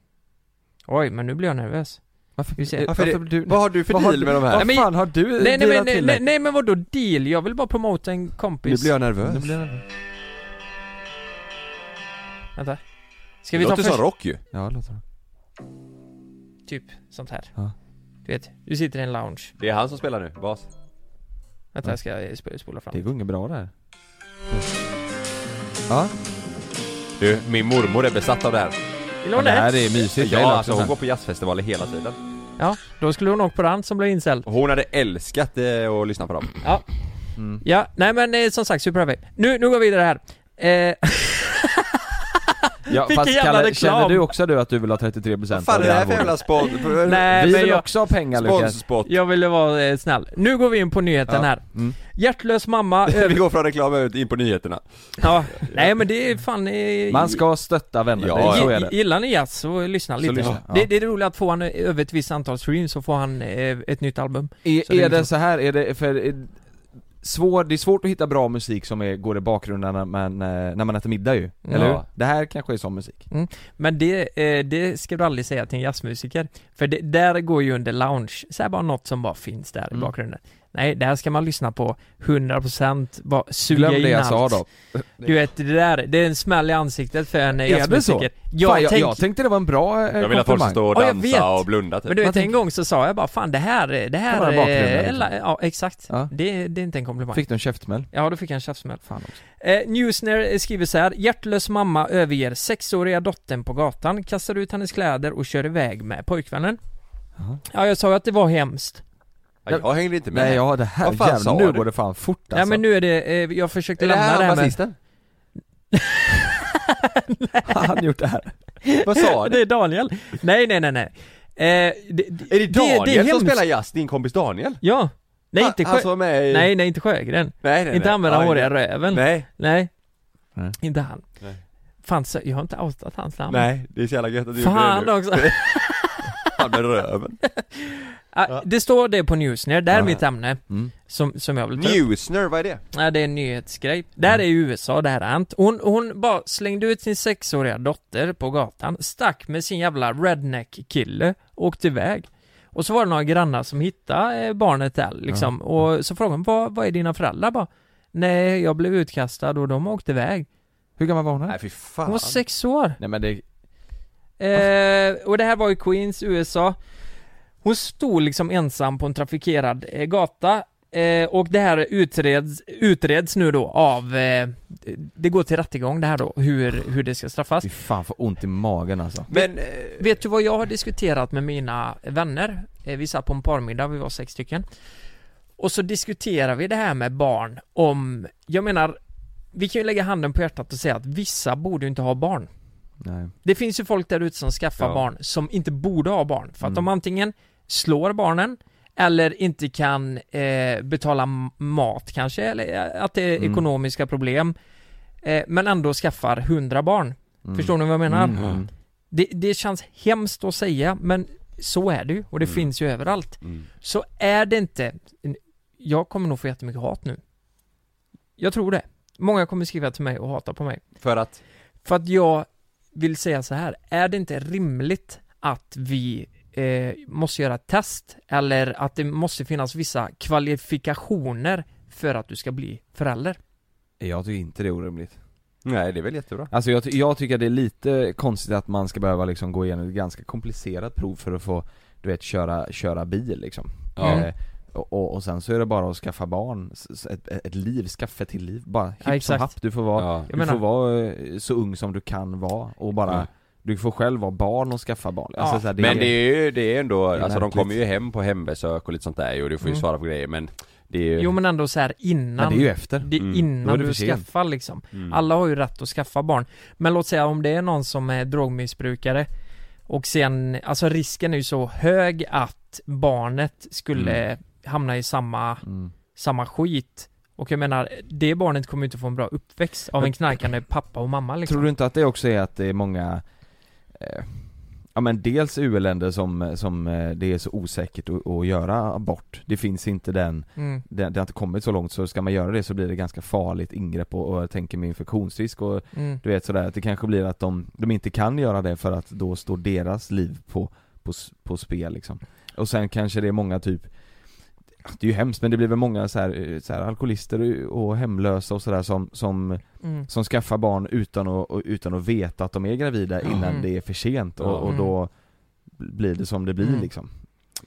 Oj, men nu blir jag nervös Varför, eh, Vi ser. varför, Varför varför du, Vad har du för vad deal med de här? Vad men- fan har du Nej nej men, delat nej, till nej, dig? nej men vadå deal? Jag vill bara promota en kompis Nu blir jag Nu nervös blir det- Vänta Ska Det vi ta låter först? som rock ju Ja, låter det. Typ, sånt här Ja. Du vet, du sitter i en lounge Det är han som spelar nu, bas Vänta jag ska eh, sp- spola fram Det går inget bra det här Ja, Du, min mormor är besatt av det här Vill hon det här det? är mysigt, jag Ja, gillar alltså också hon går sånt. på jazzfestivaler hela tiden Ja, då skulle hon åkt på den som blev inställd Hon hade älskat eh, att lyssna på dem Ja. Mm. Ja, nej men eh, som sagt, Super Heavy. Nu, nu går vi vidare här. *laughs* Eh, Ja, Vilken fast jävla Kalle, reklam. känner du också du att du vill ha 33% Vad fan av är det här för arvodet? jävla spot? nej Vi men vill jag, också ha pengar Lukas Sponsorspot? jag ville vara eh, snäll. Nu går vi in på nyheten här. Mm. *laughs* Hjärtlös *laughs* mamma Vi över... går från reklam ut- in på nyheterna ja, nej men det är fan... Eh, Man ska stötta vänner, Ja, det, är- så gi- är gi- det Gillar ni jazz så lyssna lite. lyssna, ja. det, det är roligt att få han eh, över ett visst antal streams så får han eh, ett nytt album. Så är, det är är det liksom- så här, är det för är, svår, det är svårt att hitta bra musik som är, går i bakgrunden när man, eh, när man äter middag ju, eller hur? Ja. Det här kanske är sån musik Mm. Men det, eh, det ska du aldrig säga till en jazzmusiker. För det, där går ju under lounge, så här bara något som bara finns där i Mm. bakgrunden. Nej, det här ska man lyssna på 100%, bara suga Glöm det in jag allt. sa då Du vet, det där, det är en smäll i ansiktet för en eh, Är det så? jazzmusiker. Jag, Jag, fan, jag, tänk, jag tänkte det var en bra eh, Jag vill att folk ska komplimang stå och Ja, jag dansa vet. och blunda typ men du man vet, en tänker- gång så sa jag bara fan det här, eh, det Det var här, en bakgrund, eh, liksom. eller, ja exakt. Ja. Det, det är inte en komplimang. Fick du en käftsmäll? Ja, då fick jag en käftsmäll. Fan också Eh, Newsner skriver så här. Hjärtlös mamma överger sexåriga dottern på gatan, kastar ut hennes kläder och kör iväg med pojkvännen. Jaha. Alltså. Ja, jag sa ju att det var hemskt. Ja, jag hängde inte med Nej ja det här Vad fan jävlar, sa nu du? går det fan fort alltså. Ja men nu är det, eh, jag försökte Är det lämna här det han här med... basisten? har han gjort det *laughs* här? Vad sa du? Det är Daniel. Nej nej nej nej. Eh, det, Är det Daniel som hemskt. spelar jazz? Din kompis Daniel? Ja. Nej inte Sjö... alltså- Han som är med i... Nej nej inte Sjögren. Eh, nej, nej inte han med den Ja, håriga röven. Nej. Nej, Nej. Inte han. Nej. Fan så, jag har inte outat hans namn. nej, det är så jävla gött att du Fan gjorde det nu. också. Han med *laughs* röven. Ah, Det står det på Newsner, det här är Ja. mitt ämne. Mm. Som, som jag vill ta upp. Newsner, vad är det? Nej, det är en nyhetsgrej. Det Mm. här är i USA, det här är Ant. Hon, hon bara slängde ut sin sexåriga dotter på gatan, stack med sin jävla redneck-kille, och åkte iväg. Och så var det några grannar som hittade eh, barnet där liksom, och så frågade hon vad, vad är dina föräldrar bara? Nej, jag blev utkastad och de åkte iväg. Hur gammal var hon? här? Nej fy Hon fan. var sex år. Nej men det, Eh, och det här var i Queens, USA. Hon stod liksom ensam på en trafikerad eh, gata. Eh, och det här utreds, utreds nu då av, eh, det går till rättegång det här då, hur, hur det ska straffas. fy fan för ont i magen alltså. Men, eh, Vet du vad jag har diskuterat med mina vänner? Eh, Vi satt på en parmiddag, vi var sex stycken. Och så diskuterar vi det här med barn om, jag menar, vi kan ju lägga handen på hjärtat och säga att vissa borde ju inte ha barn. Nej. Det finns ju folk där ute som skaffar Ja. barn som inte borde ha barn för att Mm. de antingen slår barnen eller inte kan eh, betala m- mat kanske eller eh, att det är Mm. ekonomiska problem eh, men ändå skaffar hundra barn. Mm. Förstår ni vad jag menar? Mm. Det, det känns hemskt att säga men så är det ju och det Mm. finns ju överallt. mm. Så är det inte, jag kommer nog få jättemycket hat nu. Jag tror det. Många kommer skriva till mig och hata på mig. för att? För att jag vill säga så här, är det inte rimligt att vi eh, måste göra ett test eller att det måste finnas vissa kvalifikationer för att du ska bli förälder? Jag tycker inte det är orimligt. Nej det är väl jättebra. Alltså jag, ty- jag tycker det är lite konstigt att man ska behöva liksom gå igenom ett ganska komplicerat prov för att få, du vet, köra, köra bil liksom. Ja. Eh, och, och- och sen så är det bara att skaffa barn, S- s- ett, ett liv, skaffa ett till liv. Bara hipp som exakt. happ, du får vara, Ja. Jag du menar- får vara eh, så ung som du kan vara och bara, Ja. du får själv vara barn och skaffa barn. Alltså, Ja. så här, Men det är ju, det är ändå, är alltså de märkligt. kommer ju hem på hembesök och lite sånt där och du får ju Mm. svara på grejer men det är ju... Jo men ändå så här innan, men det är ju efter. det är Mm. Då är det innan du för sent. skaffar liksom. Mm. Alla har ju rätt att skaffa barn. Men låt säga om det är någon som är drogmissbrukare och sen, alltså risken är ju så hög att barnet skulle hamna i samma Mm. samma skit och jag menar, det barnet kommer ju inte få en bra uppväxt av en knarkande pappa och mamma liksom. Tror du inte att det också är att det är många eh, Ja men dels EU-länder som, som eh, det är så osäkert att, att göra abort Det finns inte den, Mm. det, det har inte kommit så långt så ska man göra det så blir det ganska farligt ingrepp och, och jag tänker med infektionsrisk och Mm. du vet sådär att det kanske blir att de, de inte kan göra det för att då står deras liv på, på, s- på spel liksom Och sen kanske det är många typ Det är ju hemskt men det blir väl många så här, eh, så här alkoholister och hemlösa och sådär som, som Mm. som skaffar barn utan att, och- utan att veta att de är gravida innan Mm. det är för sent och, och Mm. då blir det som det blir Mm. liksom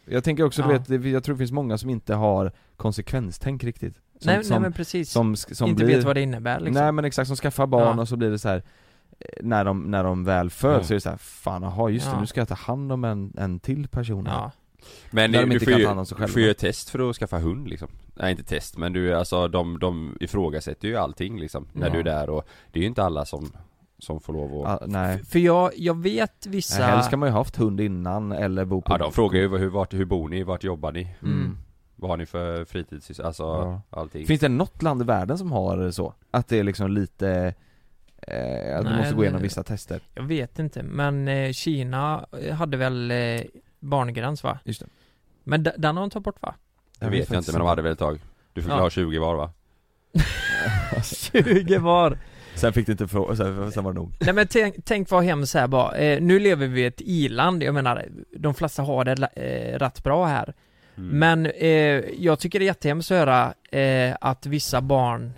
Jag tänker också, du Ja. vet, det- jag tror det finns många som inte har konsekvenstänk riktigt Som, nej, som, nej men precis, som, sk- som inte blir, vet vad det innebär liksom. Nej men exakt, som skaffar barn Ja. och så blir det så här eh, när de, när de väl föds Ja. så är det så här, fan jaha just det, Ja. nu ska jag ta hand om en, en till person här. ja. Men När de du inte får kan ju, ta hand om sig du själva. får ju ett test för att skaffa hund liksom Nej inte test men du, alltså de, de ifrågasätter ju allting liksom när Ja. du är där och det är ju inte alla som, som får lov att Ah, nej, För jag, jag vet vissa... Nej, helst ska man ju ha haft hund innan eller bo på Ja de frågar ju hur, vart, hur bor ni, vart jobbar ni? mm. Vad har ni för fritids, alltså Ja. allting Finns det något land i världen som har så? Att det är liksom lite, eh, att du Nej, måste gå igenom det- vissa tester? Jag vet inte, men eh, Kina eh, hade väl eh, barngräns va? Just det. Men d- den har de tagit bort va? *laughs* Det vet jag inte men de hade väl ett tag Du fick Ja. väl ha 20 var va? 20 var! Sen fick det inte fråga, sen, sen var det nog Nej men tänk, tänk vad hemskt här bara, eh, nu lever vi i ett i-land, jag menar, de flesta har det la- eh, rätt bra här. Men eh, jag tycker det är jättehemskt att höra eh, att vissa barn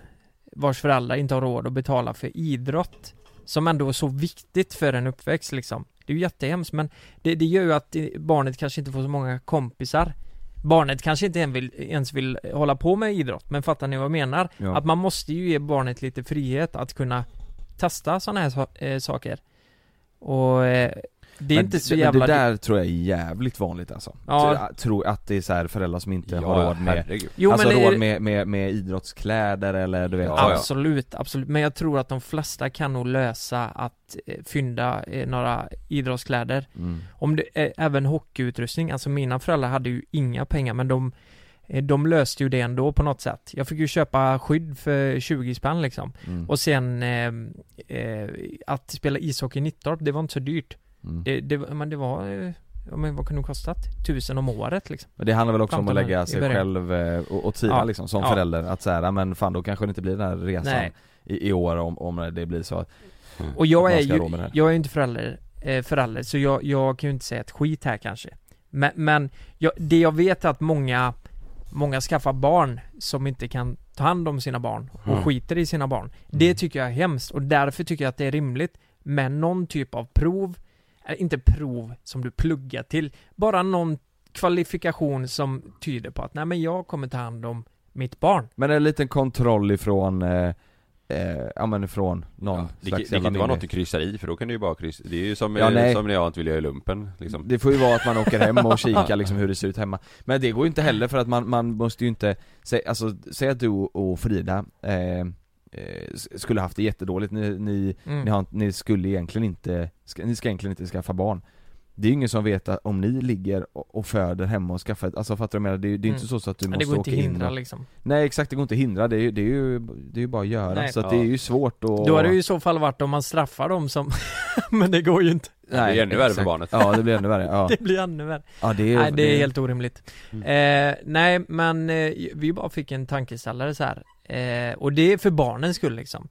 vars föräldrar inte har råd att betala för idrott som ändå är så viktigt för en uppväxt liksom. Det är ju jättehemskt men det, det gör ju att eh, barnet kanske inte får så många kompisar. Barnet kanske inte ens vill, ens vill hålla på med idrott men fattar ni vad jag menar? Ja. Att man måste ju ge barnet lite frihet att kunna testa sådana här so- eh, saker. Och eh, Det är Men inte så men jävla... Det där tror jag är jävligt vanligt alltså. Ja. Ja. Tror att det är så här föräldrar som inte har råd med, herregud. Jo, alltså men det- råd med, med, med idrottskläder eller du vet ja. Absolut, absolut. Men jag tror att de flesta kan nog lösa att eh, fynda eh, några idrottskläder. Mm. Om det, eh, även hockeyutrustning, alltså mina föräldrar hade ju inga pengar men de eh, de löste ju det ändå på något sätt. Jag fick ju köpa skydd för 20 spänn liksom. Mm. Och sen eh, eh, att spela ishockey i Nittorp, det var inte så dyrt. Mm. Det, det, var- men det var, eh, ja, men vad kunde det kostat? Tusen om året liksom. Men det handlar väl också om att Framtiden lägga i sig början. själv eh, och, och tiden Ja. liksom som Ja. förälder att så här, "Ah, men fan då kanske det inte blir den här resan Nej. i, i år om, om det blir så att Och jag Mm. Att man är ska ha råd ju, med det här. jag är ju inte förälder, eh, förälder så jag, jag kan ju inte säga ett skit här kanske. Men, men jag, det jag vet är att många, många skaffar barn som inte kan ta hand om sina barn och Mm. skiter i sina barn. Det tycker jag är hemskt och därför tycker jag att det är rimligt med någon typ av prov, eh, inte prov som du pluggar till, bara någon kvalifikation som tyder på att nej men jag kommer ta hand om mitt barn. Men en liten kontroll ifrån, eh, eh, ja men ifrån någon Ja, det, slags kan- det kan jävla inte vara något du myndighet. kryssar i för då kan du ju bara kryssa, det är ju som, Ja, eh, nej. Mm. som när jag inte vill göra lumpen liksom. Det får ju vara att man åker hem *laughs* och kikar liksom hur det ser ut hemma Men det går ju inte heller för att man, man måste ju inte, sä, alltså säg att du och Frida eh, eh, s- skulle haft det jättedåligt, ni, ni, Mm. ni, har, inte- ni skulle egentligen inte, ska, ni ska egentligen inte skaffa barn Det är ju ingen som vet att om ni ligger och, och föder hemma och skaffar ett, alltså fattar du vad jag menar? Det, är ju- det är ju inte Mm. så, så att du Men måste det går inte åka att in hindra och, liksom. Nej exakt, det går inte att hindra, det är ju, det är ju, det är ju bara att göra Nej. så att det är ju svårt att Då har det ju i så fall varit om man straffar dem som, *laughs* men det går ju inte. det är ännu värre för exakt. barnet. Ja det blir ännu värre, ja, *laughs* Det blir ännu värre. ja det är, Mm. Nej, det är helt orimligt. Eh, nej, men eh, vi bara fick en tankeställare så här. Eh, och det är för barnens skull liksom.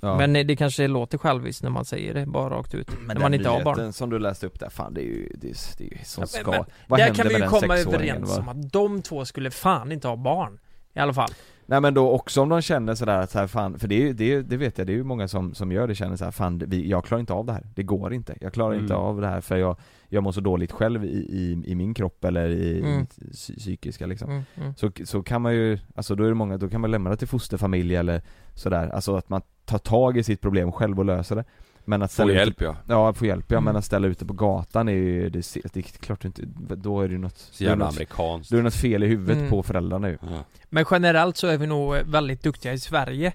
ja. Men eh, det kanske låter självvisst när man säger det bara rakt ut. när man den inte har barn. nyheten som du läste upp där, fan det är ju, det är, det är ju som Ja, men- ska men Vad Där händer kan vi med ju den komma sexåringen, överens va? om att de två skulle fan inte ha barn. I alla fall. Nej men då också om de känner sådär att så här, fan, för det, är, ju- det, är, det vet jag, det är ju många som, som gör det, känner såhär fan vi, jag klarar inte av det här, det går inte, jag klarar inte Mm. av det här för jag, jag mår så dåligt själv i, i, i min kropp eller i Mm. mitt psy- psykiska liksom Mm, mm. så, så kan man ju, alltså då är det många, då kan man lämna det till fosterfamilj eller sådär, alltså att man tar tag i sitt problem själv och löser det Men att Få ställa ut hjälp ja. Ja, få hjälp ja, Mm. men att ställa ut det på gatan är ju, det, ser- det är klart du inte, då är det ju något Så jävla då är det något- amerikanskt. då är det något fel i huvudet Mm. på föräldrarna ju Ja. Men generellt så är vi nog eh, väldigt duktiga i Sverige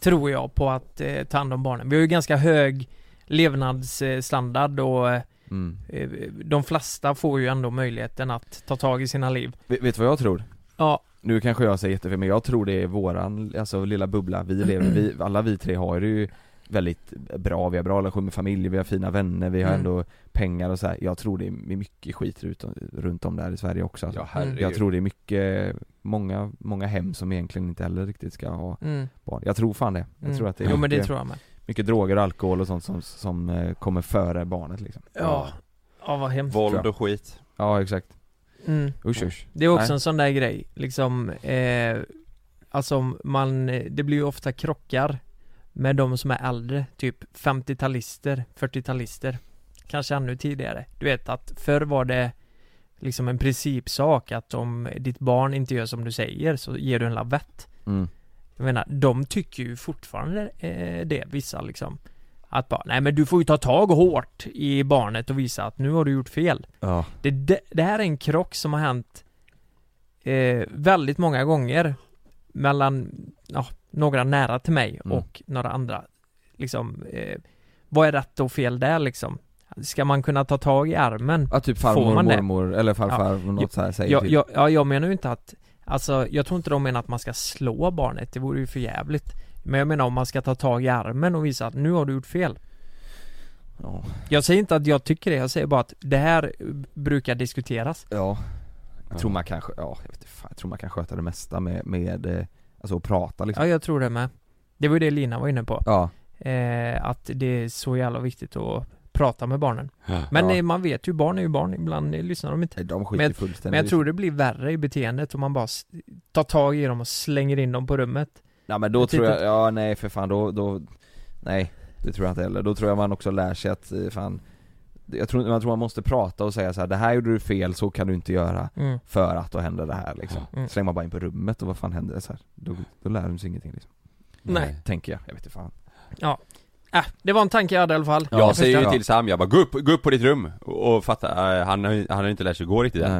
Tror jag på att eh, ta hand om barnen. Vi har ju ganska hög levnadsstandard och eh, mm. eh, de flesta får ju ändå möjligheten att ta tag i sina liv. Vet vet du vad jag tror? Ja, Nu kanske jag säger jättefel men jag tror det är våran, alltså lilla bubbla vi lever *clears throat* vi, alla vi tre har det ju väldigt bra, vi har bra relation med familj, vi har fina vänner, vi har Mm. ändå pengar och så här. Jag tror det är mycket skit runt, runt om där i Sverige också alltså. Ja, herregud. Jag tror det är mycket, många, många hem som egentligen inte heller riktigt ska ha mm, barn. Jag tror fan det. Jag mm. tror att det är Jo men det mycket- tror jag med. Mycket droger och alkohol och sånt som, som eh, kommer före barnet liksom Ja, ja vad hemskt. Våld och skit. Ja exakt, Mm. usch usch Det är också Nej. en sån där grej, liksom eh, Alltså man, eh, det blir ju ofta krockar Med de som är äldre, typ 50-talister, 40-talister Kanske ännu tidigare Du vet att förr var det Liksom en principsak att om ditt barn inte gör som du säger så ger du en lavett mm. Jag menar, de tycker ju fortfarande eh, det, vissa liksom Att bara, nej men du får ju ta tag hårt i barnet och visa att nu har du gjort fel Ja, det, det, det här är en krock som har hänt eh, väldigt många gånger mellan ja, några nära till mig Mm. och några andra. Liksom, eh, vad är rätt och fel där liksom? Ska man kunna ta tag i armen? ja typ Får farmor, man det? mormor eller farfar och något Jag- så här säger Jag, till. jag, ja, jag menar ju inte att, alltså jag tror inte de menar att man ska slå barnet, det vore ju för jävligt. Men jag menar om man ska ta tag i armen och visa att nu har du gjort fel. Ja, Jag säger inte att jag tycker det, jag säger bara att det här eh, brukar diskuteras. ja. Jag tror man kan, skö- ja, jag, vet inte, fan, jag tror man kan sköta det mesta med, med eh, alltså att prata liksom Ja, jag tror det med. Det var ju det Lina var inne på. Ja, eh, att det är så jävla viktigt att prata med barnen. Ja. Men Ja. eh, man vet ju, barn är ju barn, ibland eh, lyssnar de inte. Nej, de skiter Men- fullständigt Men jag tror det blir värre i beteendet om man bara s- tar tag i dem och slänger in dem på rummet. Nej men då Jag tror jag, tittar- ja nej för fan då, då Nej, det tror jag inte heller. Då tror jag man också lär sig att eh, fan jag tror, jag tror man måste prata och säga så här: det här gjorde du fel, så kan du inte göra Mm. för att då händer det här liksom. Mm. Slänger man bara in på rummet och vad fan händer det så här? Då, då lär de sig ingenting liksom. Nej. Tänker jag, jag vet inte fan. Äh, det var en tanke jag hade i alla fall. Jag säger ju förstår. till Sam, jag bara gå upp, gå upp på ditt rum och, och fatta, eh, han har, ju- han har ju inte lärt sig gå riktigt än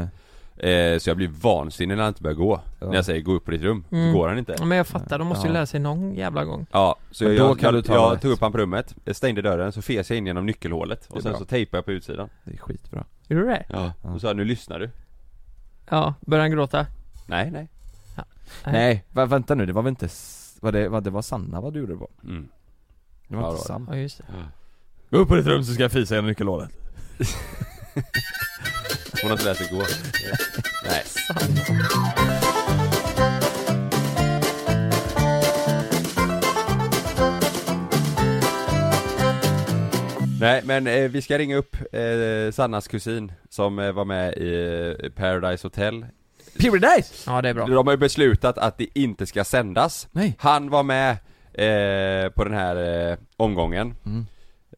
Nej. eh, Så jag blir vansinnig när han inte börjar gå När jag säger gå upp på ditt rum, Mm. så går han inte Ja, Men jag fattar, de måste ju Ja. lära sig någon jävla gång. Ja, så Men jag, då jag, kan jag, du ta rätt. tog upp han på rummet, stängde dörren, så fes jag in genom nyckelhålet Det är och sen bra. så tejpade jag på utsidan Det är skitbra. Gjorde du det? Ja Och sa nu lyssnar du? Ja, började han gråta? Nej nej Nej. Nej, va, vänta nu, det var väl inte... s- Var det, var, det var Sanna vad du gjorde det på? mm. Det var Ja, inte det Sam. Ja, just det. Gå upp på ditt rum så ska jag fisa genom nyckelhålet. *laughs* Hon har inte lärt sig gå Nej Nej men eh, vi ska ringa upp eh, Sannas kusin som eh, var med i eh, Paradise Hotel *laughs* Paradise! Ja, det är bra. De har ju beslutat att det inte ska sändas Nej. Han var med eh, på den här eh, omgången Mm.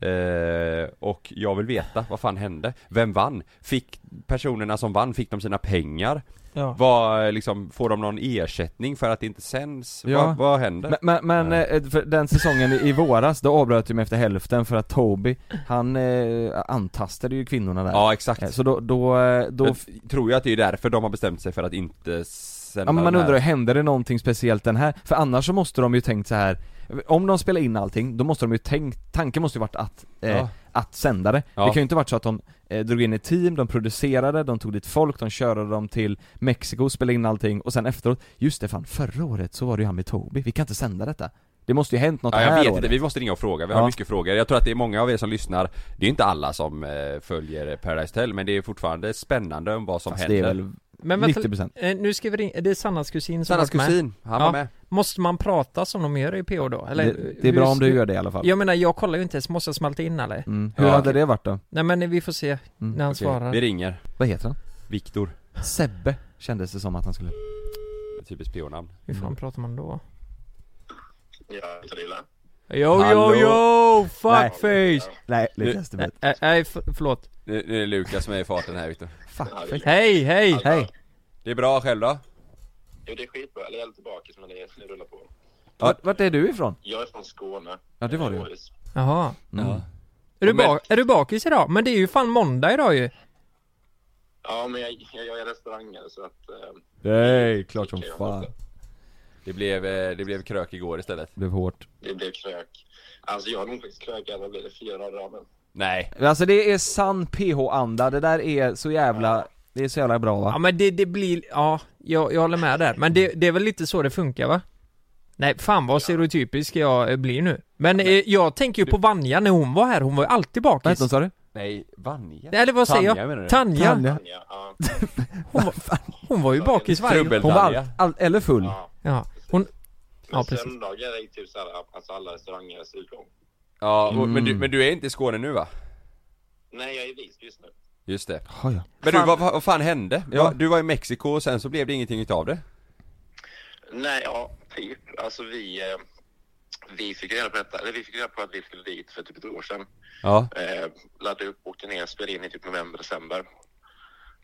eh, Och jag vill veta, vad fan hände? Vem vann? Fick personerna som vann, fick de sina pengar? Ja. Vad, eh, liksom, får de någon ersättning för att det inte sänds? Ja. Vad, vad händer? Men, men, men eh, för den säsongen i i våras, då avbröt ju mig efter hälften för att Toby, han eh, antastade ju kvinnorna där. ja Eh, exakt, Så då, då, eh, då då tror jag att det är därför de har bestämt sig för att inte sända Ja men man den här. undrar, hände det någonting speciellt den här? För annars så måste de ju tänkt så här om de spelar in allting, då måste de ju tänkt, tanken måste ju varit att, eh, Ja. att sända det. Ja. Det kan ju inte varit så att de eh, drog in ett team, de producerade, de tog dit folk, de körde dem till Mexiko, spelade in allting och sen efteråt, just det fan, förra året så var det ju han med Toby, vi kan inte sända detta. Det måste ju hänt något Ja, här jag vet året. inte, vi måste ringa och fråga, vi har Ja. mycket frågor. Jag tror att det är många av er som lyssnar, det är inte alla som eh, följer Paradise Hotel men det är fortfarande spännande om vad som Fast det är händer. väl Men vänta, 90% eh, nu ska vi ringa, det är Sannas kusin som Sannas varit med. kusin, han Ja. var med. Måste man prata som de gör i PO då? Eller, det, det är bra om du gör det i alla fall. Jag menar, jag kollar ju inte ens, måste jag smälta in eller? Mm. Hur Ja, hade okej. det varit då? Nej men vi får se Mm, när han svarar. Vi ringer. Vad heter han? Viktor. Sebbe, kändes det som att han skulle... Typiskt PO-namn. Hur fan pratar man då? Ja, Trilla. Yo Hallå? yo yo! Fuckface! Nej, Nu- lite Nej, Esterbet. äh, nej, för- förlåt. Nu, nu är det Lukas som är i farten här Viktor. Fuck. Hej, hej! Hej! Det är bra själv då? Jo, det är skitbra. Eller jag är tillbaka, men det, det rullar på. Vart, vart är du ifrån? Jag är från Skåne. Ja det var du Mm. Boris. Jaha. Ja. Är du, Men- ba- är du bakis idag? Men det är ju fan måndag idag ju. Ja, men jag, jag, jag är restaurangare, så att... Eh, Nej, klart som Okej, fan. jag Det blev, eh, det blev krök igår istället. Blev hårt. det blev krök. Alltså, jag har nog faktiskt krökat, vad blir det, fyra dagar i raden? Nej. Alltså det är sann PH-anda, det där är så jävla, det är så jävla bra Ja va? men det, det blir, ja, jag, jag håller med där. Men det, det är väl lite så det funkar va? Nej, fan vad stereotypisk jag eh, blir nu. Men eh, jag tänker ju på Vanja när hon var här, hon var ju alltid Vad bakis. hette hon sa du? Nej, Vanja. Eller vad säger Tanja, menar du? jag? Tanja! Tanja. Ja, ja. Hon, var, hon var ju bakis varje Trubbel. Hon var Tanja. all, all, eller full? ja. Ja, hon, Men Ja, precis. söndagar är ju typ så här, alltså alla restaurangares utgång. Ja, och, men, Mm. du, men du är inte i Skåne nu va? Nej, jag är i Visby just nu. Just det. Ja, ja. Men du, vad, vad vad fan hände? Ja, du var i Mexiko och sen så blev det ingenting utav det. Nej, ja, typ. Alltså, vi... Eh, vi fick reda på detta, eller vi fick reda på att vi skulle dit för typ ett år sedan. Ja. Eh, laddade upp, åkte ner, spelade in i typ november, december.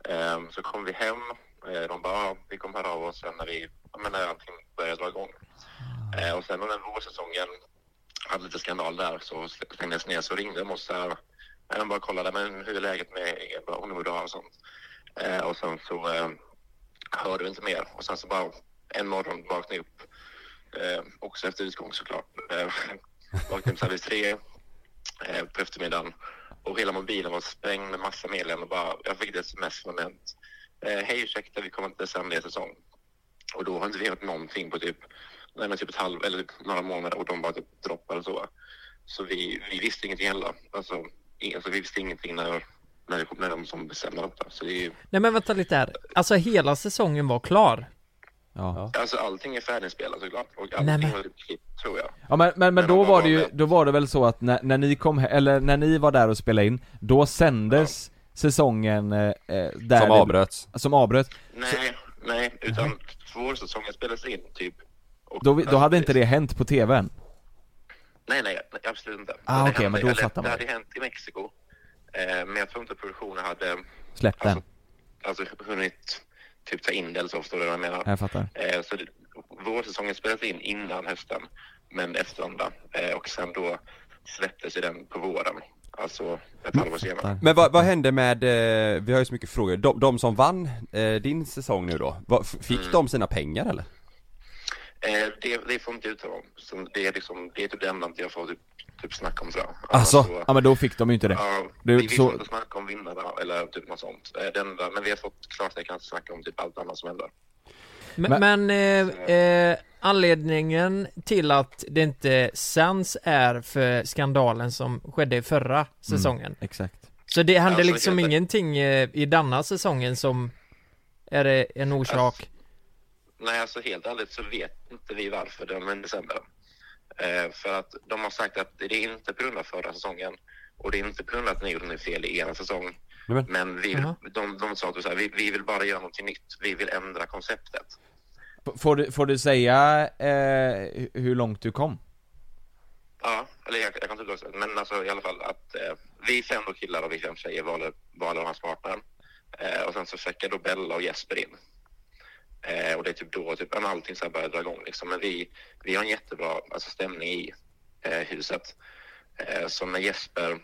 Eh, så kom vi hem. Eh, de bara, "Ja, vi kommer höra av oss sen när, vi, ja, men när allting börjar dra igång. Eh, och sen under vårsäsongen, hade lite skandal där, så stängdes ner. Så ringde de oss så här. Eh, De bara kollade, men hur är läget med er? Bara, "Oh, nu mår bra och sånt. Eh, och sen så eh, hörde vi inte mer. Och sen så bara en morgon vaknade jag upp. Eh, också efter utgång såklart. Eh, vaknade upp så här vid tre, eh, på eftermiddagen och hela mobilen var sprängd med massa meddelanden och bara, jag fick ett sms från en. Eh, Hej ursäkta, vi kommer inte sända er säsong. Och då har inte vi hört någonting på typ, nej, men typ ett halv eller typ några månader och de bara typ droppade så. Så vi, vi visste ingenting heller. Alltså, ing- alltså vi visste ingenting när, när det kom när de som bestämde detta. Så det är ju, nej men vänta lite här. Alltså hela säsongen var klar. Ja. alltså allting är färdigspelat såklart och men- allting var typ klippt tror jag. ja men, men, men Men då de var det var ju, med. då var det väl så att när, när ni kom he- eller när ni var där och spelade in, då sändes säsongen eh, eh, där Som det- avbröts. Som avbröt. Nej, nej, utan två säsonger spelades in typ. Och- Då, vi- då hade inte Alltså, det hänt på TVn. Nej, nej, nej, absolut inte. Ah, Det okej, hände- men då eller, fattar man. Det hade hänt i Mexiko. Eh, men jag tror inte produktionen hade Släpp den. alltså, alltså, hunnit typ ta in det eller så, förstår du vad jag menar? Jag fattar. Eh, så det, vårsäsongen spelades in innan hösten, men efter andra. Eh, och sen då släpptes ju den på våren. Alltså ett halvår senare. Men vad, vad hände med, eh, vi har ju så mycket frågor, de, de som vann eh, din säsong nu då, vad, f- fick de sina pengar eller? Eh, det, det får inte ut av dem. Så det är liksom, det är typ det enda jag får typ, typ snacka om sådär. Alltså, ja men då fick de ju inte det. Ja, Det är vi ju vill så- inte snacka om vinnarna eller typ något sånt. Eh, Det enda, men vi har fått klartecken att snacka om typ allt annat som händer. Men- Men, men eh, eh, anledningen till att det inte sänds är för skandalen som skedde i förra säsongen. Exakt. Så det hände Mm. Alltså, liksom helt- ingenting eh, i denna säsongen som är eh, en Alltså- orsak? Nej, alltså helt ärligt så vet inte vi varför den vändes sämre. Eh, för att de har sagt att det är inte på grund av förra säsongen och det är inte på grund av att ni gjorde något fel i ena säsong. Nej, men- Men vi, Jaha. de, de sa att så här, vi, vi vill bara göra något nytt. Vi vill ändra konceptet. F- Får du, får du säga eh, hur långt du kom? Ja, eller jag, jag kan inte också. Men alltså i alla fall att eh, vi fem då killar och vi fem tjejer valde, valde hans partner. Eh, och sen så checkade då Bella och Jesper in. Eh, och det är typ då typ, ja, men allting så här börjar dra igång liksom. Men vi, vi har en jättebra alltså, stämning i eh, huset. Eh, som när Jesper,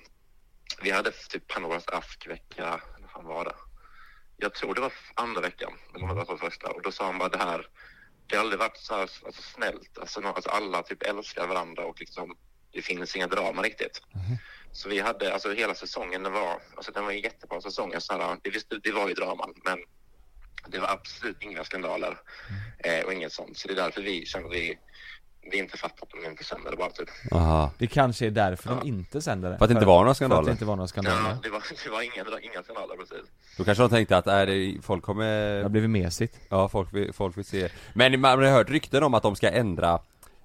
vi hade typ Pandoras askvecka, när han var det. Jag tror det var andra veckan, eller om det var första. Och då sa han bara det här, det har aldrig varit så här alltså, snällt. Alltså, nå- alltså, alla typ älskar varandra och liksom, det finns inga drama riktigt. Så vi hade, alltså hela säsongen, den var, alltså, den var en jättebra säsong. Så här, det, visst, det var ju draman, men det var absolut inga skandaler eh, och inget sånt. Så det är därför vi känner att vi, vi inte fattar att de inte sänder det bara typ. Aha. Det kanske är därför de inte sänder det. För att det inte var några För att skandaler. det inte var några Ja, skandaler. det var, *laughs* det var inga, inga skandaler precis. Då kanske de tänkte att, är det, folk Det har kommer, blivit mesigt. ja folk vill, folk vill se Men man har hört rykten om att de ska ändra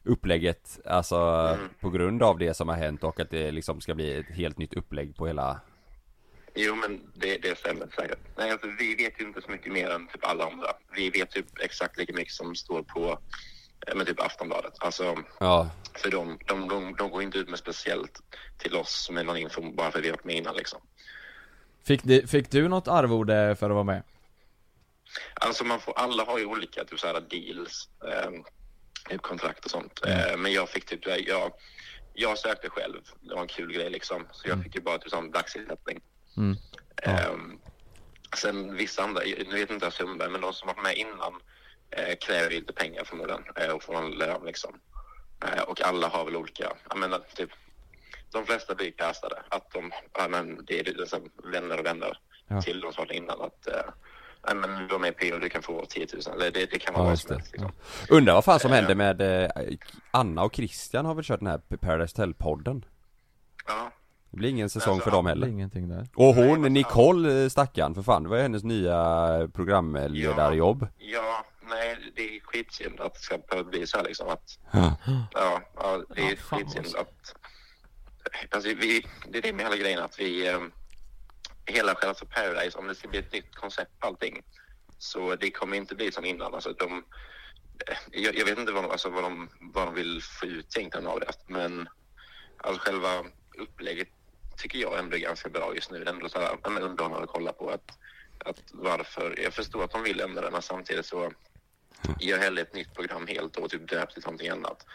upplägget, alltså på grund av det som har hänt och att det liksom ska bli ett helt nytt upplägg på hela Jo, men det, det stämmer säkert. Nej, alltså, vi vet ju inte så mycket mer än typ alla andra. Vi vet typ exakt lika mycket som står på eh, men typ Aftonbladet. Alltså, Ja, för de, de, de, de går inte ut med speciellt till oss med någon info bara för att vi har varit med innan. Liksom. Fick, ni, fick du något arvode för att vara med? Alltså, man får, alla har ju olika typ, så här, deals, eh, typ kontrakt och sånt. Mm. Eh, men jag fick typ, jag, jag sökte själv. Det var en kul grej liksom. Så Mm. jag fick ju bara typ sån dagsersättning. Ehm, sen vissa andra, nu vet inte jag Sundberg, men de som varit med innan eh, kräver ju inte pengar förmodligen eh, och får någon lön liksom. Eh, och alla har väl olika, jag menar typ, de flesta blir kastade. Att de, ja men det är ju liksom vänner och vänner till de som varit innan att eh, ja, men du var med i PO, och du kan få 10 000. Eller det, det kan Ja, vara vad just som helst. det. Liksom. Undrar vad fan som hände med eh, Anna och Christian har väl kört den här Paradise Tell-podden? Ja. Det blir ingen säsong Alltså, för dem Eller heller ingenting där. Och hon, Nicole eh, stackarn för fan, det var ju hennes nya eh, programledarjobb Ja, nej, det är skitsynd att det ska behöva bli så här liksom att... Ja, ja det är Ja, fan, skitsynd alltså. att... Alltså, vi, det är det med hela grejen att vi... Eh, hela själva alltså Paradise, om det ska bli ett nytt koncept och allting, så det kommer inte bli som innan. Alltså, de, eh, jag, jag vet inte vad de, alltså, vad, de, vad de vill få ut egentligen av det, men alltså, själva upplägget tycker jag ändå är ganska bra just nu. Det är ändå så här, ja, men underhållande att kolla på att, att varför. Jag förstår att de vill ändra det, men samtidigt så Mm. gör hellre ett nytt program helt och typ döpt till någonting annat.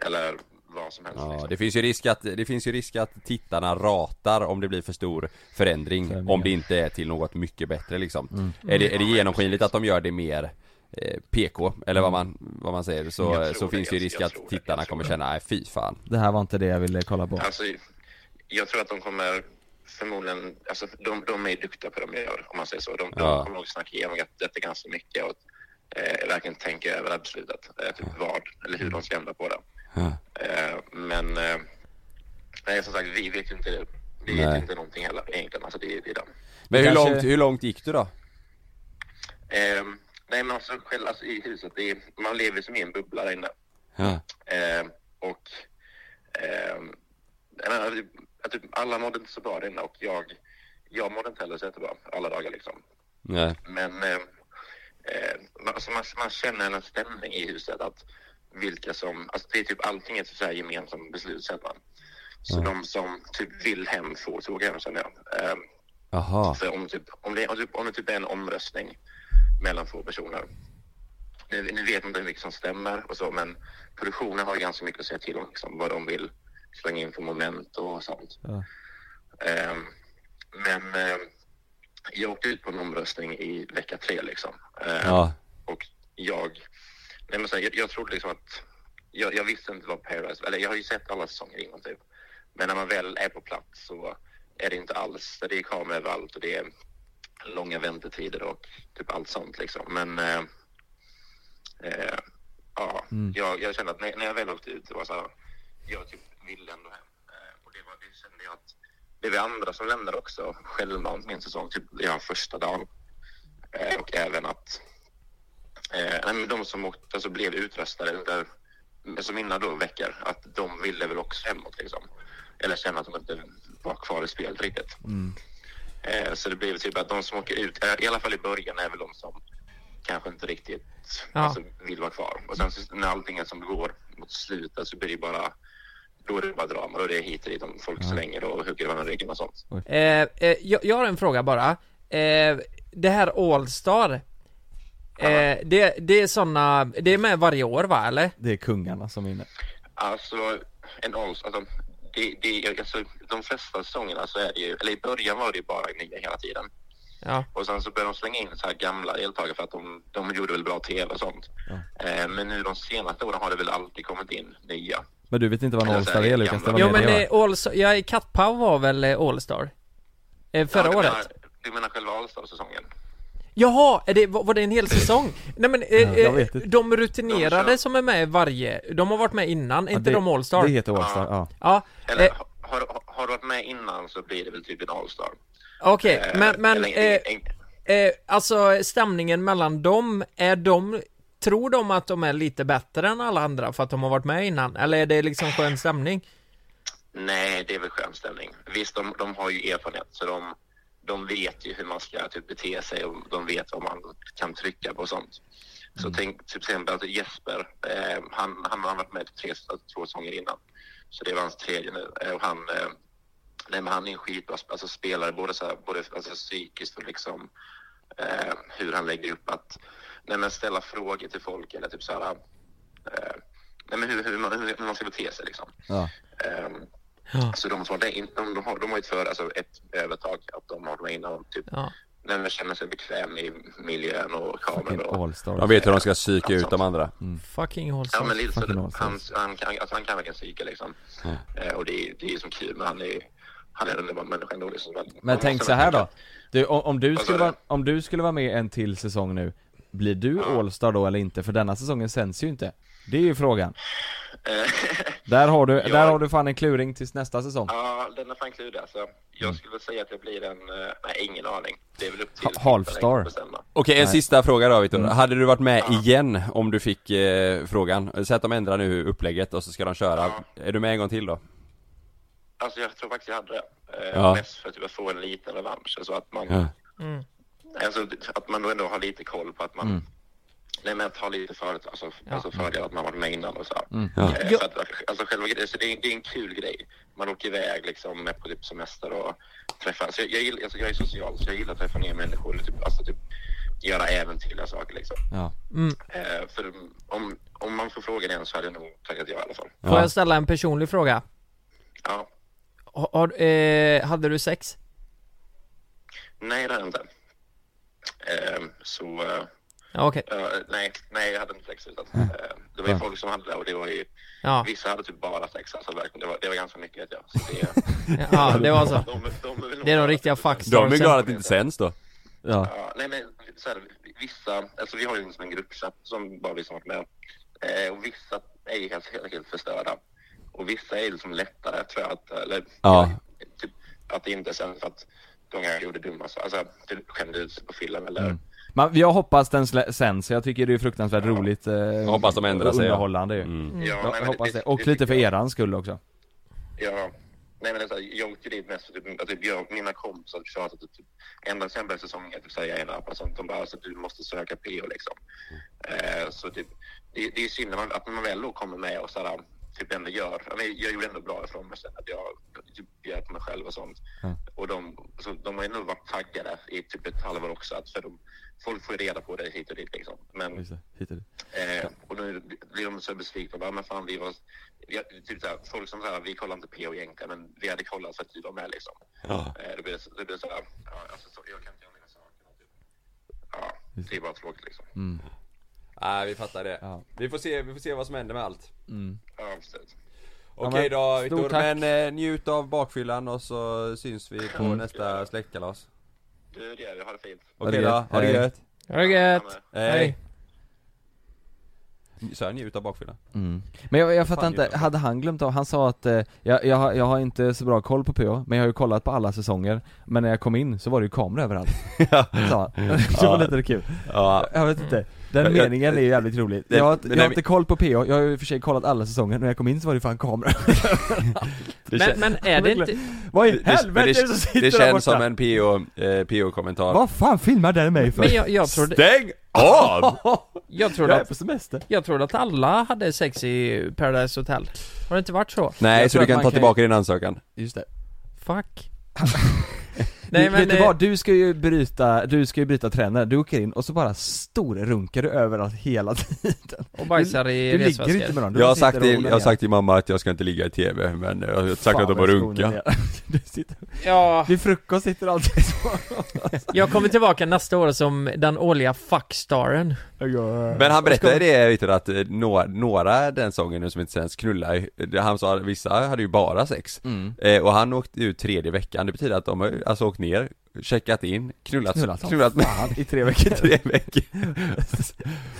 Eller vad som *laughs* helst. Mm. Ja, liksom. det finns ju risk att, det finns ju risk att tittarna ratar om det blir för stor förändring Om det inte är till något mycket bättre liksom Är det, är det genomskinligt att de gör det mer eh, PK, eller vad man, vad man säger, Jag så, tror så det, finns ju jag- risk jag att tror det, jag tittarna tror kommer det. känna, nej fy fan Det här var inte det jag ville kolla på. Alltså, jag tror att de kommer förmodligen, alltså de, de är ju duktiga på det de gör om man säger så. De, Ja. de kommer nog snacka igenom detta ganska mycket och eh, verkligen tänka över det här beslutet. Eh, typ vad eller hur de ska ändra på det. Eh, men eh, nej, som sagt, vi vet ju inte det. Vi vet Nej. ju inte någonting heller egentligen. Alltså det, det är dem. Men hur Kanske- långt, hur långt gick du då? Ehm, nej men alltså själv alltså, i huset, det är, man lever som i en bubbla där inne. Ja. Ehm, och ehm, jag menar, typ, att typ, alla mådde inte så bra där inne och jag, jag mådde inte heller så jättebra alla dagar liksom. Nej. Men eh, eh, man- alltså man, man känner en stämning i huset att vilka som, alltså det är typ allting är så här gemensamt beslut säger man. Så de som typ vill hem får så åka hem känner jag. Ehm, Aha. för om, typ, om, det, om, typ, om det typ är en omröstning mellan två personer. Nu, nu vet man inte hur mycket som stämmer och så, men produktionen har ju ganska mycket att säga till om liksom, vad de vill slänga in för moment och sånt. Ja. Ehm, men eh, jag åkte ut på en omröstning i vecka tre liksom. Ehm, Ja, och jag, nej men så här, jag, jag trodde liksom att, jag, jag visste inte vad Paradise, eller jag har ju sett alla säsonger innan typ. Men när man väl är på plats så är det inte alls, det är kameror överallt och det är långa väntetider och typ allt sånt liksom. Men eh, eh, ja, jag, jag kände att när, när jag väl åkte ut det var så här, jag typ ville ändå hem. Eh, och det, var, det kände jag att det var andra som lämnade också självmant min säsong, typ ja, första dagen. Eh, och även att Eh, nej, men de som åkte, alltså, blev utröstade under, som innan då veckor, att de ville väl också hemåt liksom. Eller känna att de inte var kvar i spelet riktigt. Eh, så det blev typ att de som åker ut, eh, i alla fall i början, är väl de som kanske inte riktigt Ja. alltså, vill vara kvar. Och sen så, när allting är som det går mot slutet så blir det ju bara då är det bara drama, då är det hit och dit, om folk slänger och hugger varandra i ryggen och sånt. Eh, eh, jag, jag har en fråga bara. Eh, det här Allstar. Eh, det, det är såna, det är med varje år va eller? Det är kungarna som är inne. Alltså, en alls, alltså, det, det, alltså, de flesta säsongerna så är det ju, eller i början var det ju bara nya hela tiden. Ja. Och sen så började de slänga in så här gamla deltagare för att de, de gjorde väl bra tv och sånt. Eh, men nu de senaste åren har det väl alltid kommit in nya. Men du vet inte vad en Eller Allstar så är här, Lukas, det var Ja, Jo mer men det eh, Allstar, ja, Kattpaw var väl eh, Allstar? Eh, förra Ja, du året? Menar, du menar själva Allstar-säsongen? Jaha! Är det, var var det en hel säsong? Nej men, eh, jag eh, vet inte. de De kör- rutinerade som är med i varje, de har varit med innan, är Ja, inte det- de Allstar? Det heter Allstar, ja. Ja, Eller eh, har, har, har du varit med innan så blir det väl typ en Allstar. okej, Eh, men, men eller, eh, en- eh, alltså stämningen mellan dem, är de, tror de att de är lite bättre än alla andra för att de har varit med innan? Eller är det liksom skön stämning? Nej, det är väl skön stämning. Visst, de, de har ju erfarenhet, så de, de vet ju hur man ska typ, bete sig och de vet vad man kan trycka på och sånt. Så tänk typ, till exempel att Jesper, eh, han, han har varit med tre, två säsonger innan. Så det var hans tredje nu. Eh, Och han, eh, nej, men han är en skitbra sp- alltså, spelare, både, så här, både alltså, psykiskt och liksom, eh, hur han lägger upp att nej, men ställa frågor till folk eller typ så här, eh, nej, men hur, hur, man, hur man ska bete sig liksom. ja. Ehm, Ja. Så de som har det, in- de, de, har, de har ju ett, för, alltså ett övertag, att de har det innan typ, Ja. när man känner sig bekväm i miljön och kameran Fucking och... Allstar. de vet hur de ska psyka ut de andra Fucking Ja Allstar. men lite så, Fucking han, awesome. han, han, kan- alltså, han kan verkligen psyka liksom. Eh, och det, är- det är ju som kul, men han är ju, han är en underbar människa ändå liksom. Man Men måste tänk så här verkligen- då. Du, om, om, du Vad sa skulle du? vara, om du skulle vara med en till säsong nu, blir du Allstar då eller inte? För denna säsongen sänds ju inte. Det är ju frågan. Eh, *laughs* Där har du, Ja. där har du fan en kluring tills nästa säsong. Ja, den är fan klurig alltså. Jag skulle väl säga att det blir en, eh, nej ingen aning. Det är väl upp till... Mm. typ Ha- Halfstar. att bestämma. Okej, en sista fråga då Victor. Hade du varit med igen om du fick eh, frågan? Säg att de ändrar nu upplägget och så ska de köra. Är du med en gång till då? Alltså jag tror faktiskt jag hade det. Eh, Ja. Mest för att typ, få en liten revansch. Alltså att man, Ja. alltså, att man då ändå har lite koll på att man Nej men att ha lite för, alltså, alltså fördel att man har varit med innan och så. här. Eh, så att, alltså själva grejen, så det är, det är en kul grej. Man åker iväg liksom med på typ semester och träffar, så jag, jag, gillar, alltså, jag är social så jag gillar att träffa nya människor och typ, alltså typ göra äventyrliga saker liksom. Ja. Eh, för om, om man får frågan igen så hade jag nog tackat ja i alla fall. Får jag ställa en personlig fråga? Ja. Har, har, eh, hade du sex? Nej det hade jag inte. Eh, så eh, Ja, okej. Eh, nej, nej, jag hade inte sex utan. eh, det var ju folk som hade det och det var ju, Ja. vissa hade typ bara sex. Alltså, verkligen, det, var, det var ganska mycket vet jag. Så det, ja, det var så. de, de är väl nog- Det är de riktiga De är fuckstarsen. glada att det inte sänds då. Ja. Ja, nej men så här, vissa, alltså vi har ju liksom en gruppchatt som bara vi som varit med. Eh, och vissa är ju helt, helt, helt förstörda. Och vissa är ju liksom lättare tror jag att, eller Ja. typ, att det inte är sen för att de kanske gjorde dumma saker. Alltså typ skämde ut sig på fyllan eller Men jag hoppas den slä- sänds, jag tycker det är fruktansvärt roligt. Eh, jag hoppas de ändrar sig, ja. Mm. Underhållande ju. Ja, nej, Jag men hoppas det. Och lite för tycker jag. eran skull också. Ja. Nej men alltså, jag åkte dit mest för typ, att typ jag, mina kompisar tjatade typ, ända sen började säsongen, typ säga en app och sånt. De bara alltså du måste söka PO liksom. Eh, så typ, det, det är synd när man, att när man väl då kommer med och sådär, typ ändå gör. ja, Men jag gjorde ändå bra ifrån mig sen. Att jag typ hjälpte mig själv och sånt. Och de, så de har ju nog varit taggade i typ ett halvår också. Att för de, folk får ju reda på det hit och dit liksom. Men Just det, hit är det. Eh, och nu blir de så besvikna. Bara, men fan, vi var, vi, typ såhär, folk som säger vi kollar inte PO egentligen, men vi hade kollat så att vi var med liksom. Ja. Eh, det blir, det blir såhär, ja, alltså, så, jag kan inte göra mina saker. och Typ. Ja, det är bara tråkigt liksom. Nej vi fattar det. Ja. Vi får se, vi får se vad som händer med allt. Ja, precis. Okej men, då stort Viktor, tack. men eh, njut av bakfyllan och så syns vi på nästa släktkalas. Du, det gör vi. Ha det fint. det Okej då, Mm. gött. ha det Hej. gött. Ha det gött! Amen. Hej. Så jag njut av bakfyllan. Men jag, jag fattar Fan, inte, Jonas. hade han glömt av, han sa att eh, jag, jag, har- jag har inte så bra koll på PO, men jag har ju kollat på alla säsonger, men när jag kom in så var det ju *laughs* kamera överallt. Sa han. Det var lite kul. Ja. Jag vet inte, den Jag- meningen är ju jävligt rolig. Det- Jag har, det jag där har med- inte koll på PO, jag har ju i och för sig kollat alla säsonger, men när jag kom in så var det fan kamera. Men, men är det inte... Vad i Det, det, men helvete är det som det, sitter det där känns borta? som en PO, eh, PO-kommentar. Vad fan filmar den mig för? Men jag, jag trodde... Stäng av! *laughs* Jag trodde Jag är *laughs* att... på semester. Jag trodde att alla hade sex i Paradise Hotel. Har det inte varit så? Nej, Jag så tror du att kan man ta kan- tillbaka din ansökan. Just det. *laughs* Fuck. Nej, men, vet du eh, vad? Du ska ju bryta, du ska ju bryta tränare, du åker in och så bara storrunkar du överallt hela tiden eh, och bajsar i Du ligger inte med resväskor. dem, du Jag har sitter sagt och till, rullar jag har ner. sagt till mamma att jag ska inte ligga i TV, men eh, jag har sagt Fan, att de vad bör skolan runka. är. *laughs* Du sitter, Ja, vid frukost sitter du alltid så jag kommer tillbaka nästa år som den årliga fuckstaren. Men han berättade det Victor att eh, några, några den sången nu som inte sänds knullar ju. Det- Han sa att vissa hade ju bara sex. Eh, och han åkte ut tredje veckan, det betyder att de har ju alltså åkt ner, checkat in, knullat, knullat, Knullat som knullat med fan *laughs* i tre veckor till. tre *laughs* veckor.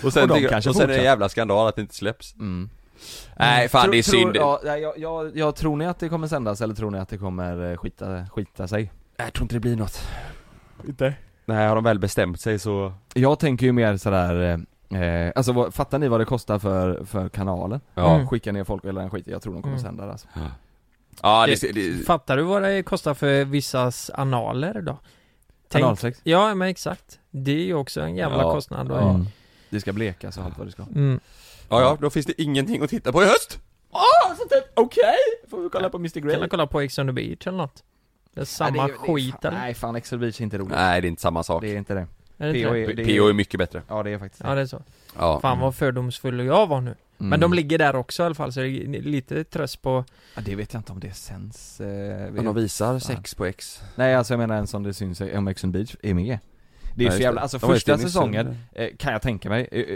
och sen, Och de tycker- kanske och sen är det en fortsätter. jävla skandal att det inte släpps. Mm. Nej fan det är Mm. Tror- synd. Tror, ja, nej, jag, jag, jag, tror ni att det kommer sändas eller tror ni att det kommer eh, skita, skita sig? Jag tror inte det blir något. Inte? Nej har de väl bestämt sig så Jag tänker ju mer sådär, eh, eh, alltså vad, fattar ni vad det kostar för, för kanalen? Ja. Mm. Skicka ner folk eller den skiten, jag tror de kommer sända det alltså. Ja det, det, Fattar du vad det kostar för vissas analer då? Tänk- Analsex. Ja, men exakt. Det är ju också en jävla Ja. kostnad. Då. Mm. Det ska blekas och allt vad det ska. Mm. Ja, ja, då finns det ingenting att titta på i höst! Ah, Okej! Får vi kolla på Mr Kan man kolla på Ex on the Beach eller något? Det är samma skit eller? Nej fan, Excel Beach är inte roligt. Nej, det är inte samma sak. Det är inte det. är det inte PO det? E. är- det PO är mycket bättre. Ja det är faktiskt Ja, det är så. Ja. Fan vad fördomsfull jag var nu. Men Mm. de ligger där också i alla fall, så det är lite tröst på... Ja, det vet jag inte om det sänds... Eh, Men de visar sex på X. Nej alltså jag menar en som det syns om Ex on the Beach är med. Ja, Det är ju just så jävla, det. alltså De har ju första Dennis säsongen eh, kan jag tänka mig, eh, eh,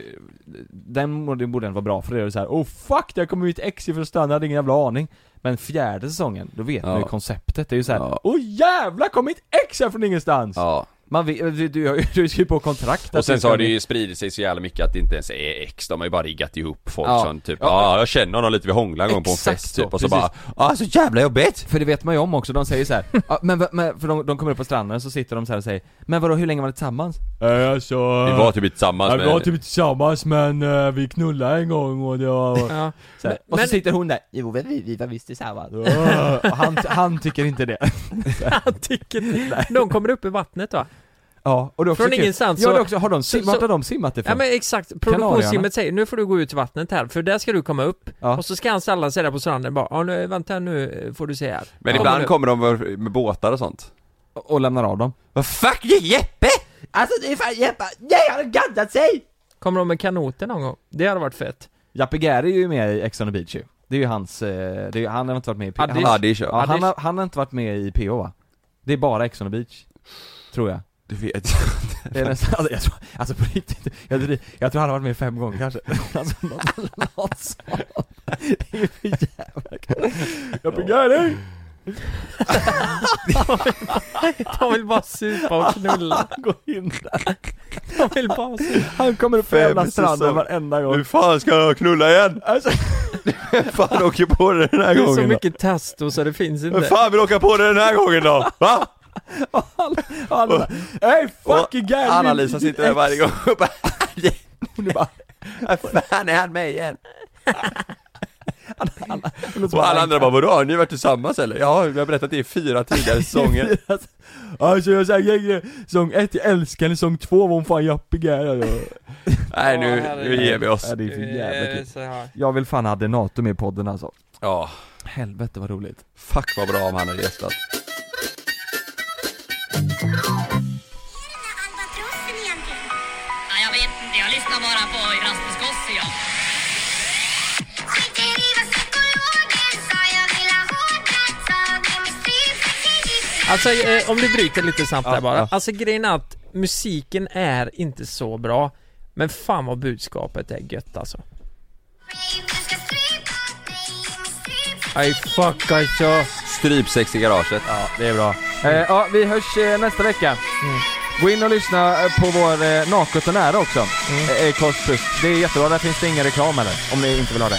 den borde, borde den vara bra för det är så här, oh fuck det har kommit ut X för att stanna, jag hade ingen jävla aning. Men fjärde säsongen, då vet man Ja. ju konceptet, det är ju såhär, Ja. oh jävlar kommit X här från ingenstans! Ja. Man vet, eh, du, du, har ju- *laughs* du skriver på kontrakt Och att sen så du ska har det bli- ju spridit sig så jävla mycket att det inte ens är X, de har ju bara riggat ihop folk Ja. som typ Ja. ja. jag känner honom lite, vi hånglade en gång på en Exakt fest så, typ och så precis. bara ah så jävla jobbigt! För det vet man ju om också, de säger så här. "Ja, men, va- men, för de, de kommer upp på stranden så sitter de så här och säger Men vadå hur länge var ni tillsammans? Äh, alltså, Vi var typ tillsammans men... tillsammans men eh, vi knullade en gång och det var... Ja. *laughs* Så här. Men- och så men- sitter hon där Jo men vi, vi var visst *laughs* tillsammans och han, han tycker inte det Han *laughs* tycker De kommer upp i vattnet va? Ja, och det är också Från kul. ingenstans Ja så- det är också, har de så- sim, vart så- har de simmat Ja ifrån? men exakt, Kanarieöarna. produktionsgymmet säger nu får du gå ut i vattnet här för där ska du komma upp Ja. och så ska han ställa sig där på stranden bara ja, nu, vänta nu eh, får du se här Men Ja, ibland nu. kommer de med- med båtar och sånt. Och lämnar av dem Vad fuck det är Jeppe! Alltså det är fan Jeppe, nej han har gaddat sig! Kommer de med kanoter någon gång? Det hade varit fett Jappe Gary är ju med i Ex on the Beach ju Det är ju hans, eh, det är, ju- han har inte varit med i P- Addish. han, Ja, det är Ja, kört. han, det- har, han har inte varit med i PO va? Det är bara Ex on the beach Tror jag Du vet. *laughs* det är nästan, alltså, jag tror, alltså på riktigt, jag, dri- jag tror han har varit med fem gånger kanske *laughs* Alltså något, något sånt Det är ju för jävla kul. Jag begär dig! De vill bara supa och knulla Gå in där De vill bara supa Han kommer upp på Fem jävla stranden säsonger. varenda gång Hur fan ska jag knulla igen? Alltså, Vem fan åker på det den här Det är så gången då? mycket testo så det finns Vem inte fan vill åka på det den här gången då? Va? alla, hey fucking Gary! Anna-Lisa sitter där varje gång och bara Hon är bara, Vad fan är han med igen? Och alla andra bara vadå, har ni varit tillsammans eller? Ja, vi har berättat det i fyra *laughs* tidigare säsonger Alltså jag säger sång 1, jag älskar henne, sång 2 var hon fan jappig här alltså. Nej nu, Åh, herregud. nu ger vi oss Ja det är för jävla kul. Eh, Så här. Jag vill fan ha Denato med i podden alltså. Ja, Helvete vad roligt. fuck vad bra om han hade gästat Är den där albatrossen egentligen? Ja, jag vet inte. Jag lyssnar bara på Rasmus Gossi, ja. Skiter i vad psykologen sa. Jag vill ha hård plats av demonstrerande Alltså eh, om du bryter lite snabbt där bara. ja. Alltså grejen är att musiken är inte så bra. Men fan vad budskapet är gött alltså. I fuck alltså. Strypsex i garaget Ja, det är bra. Eh, ja, vi hörs eh, nästa vecka. Gå in och lyssna eh, på vår eh, Naket och nära också. Eh, eh, Kost plus. Det är jättebra, där finns det ingen reklam eller? Om ni inte vill ha det.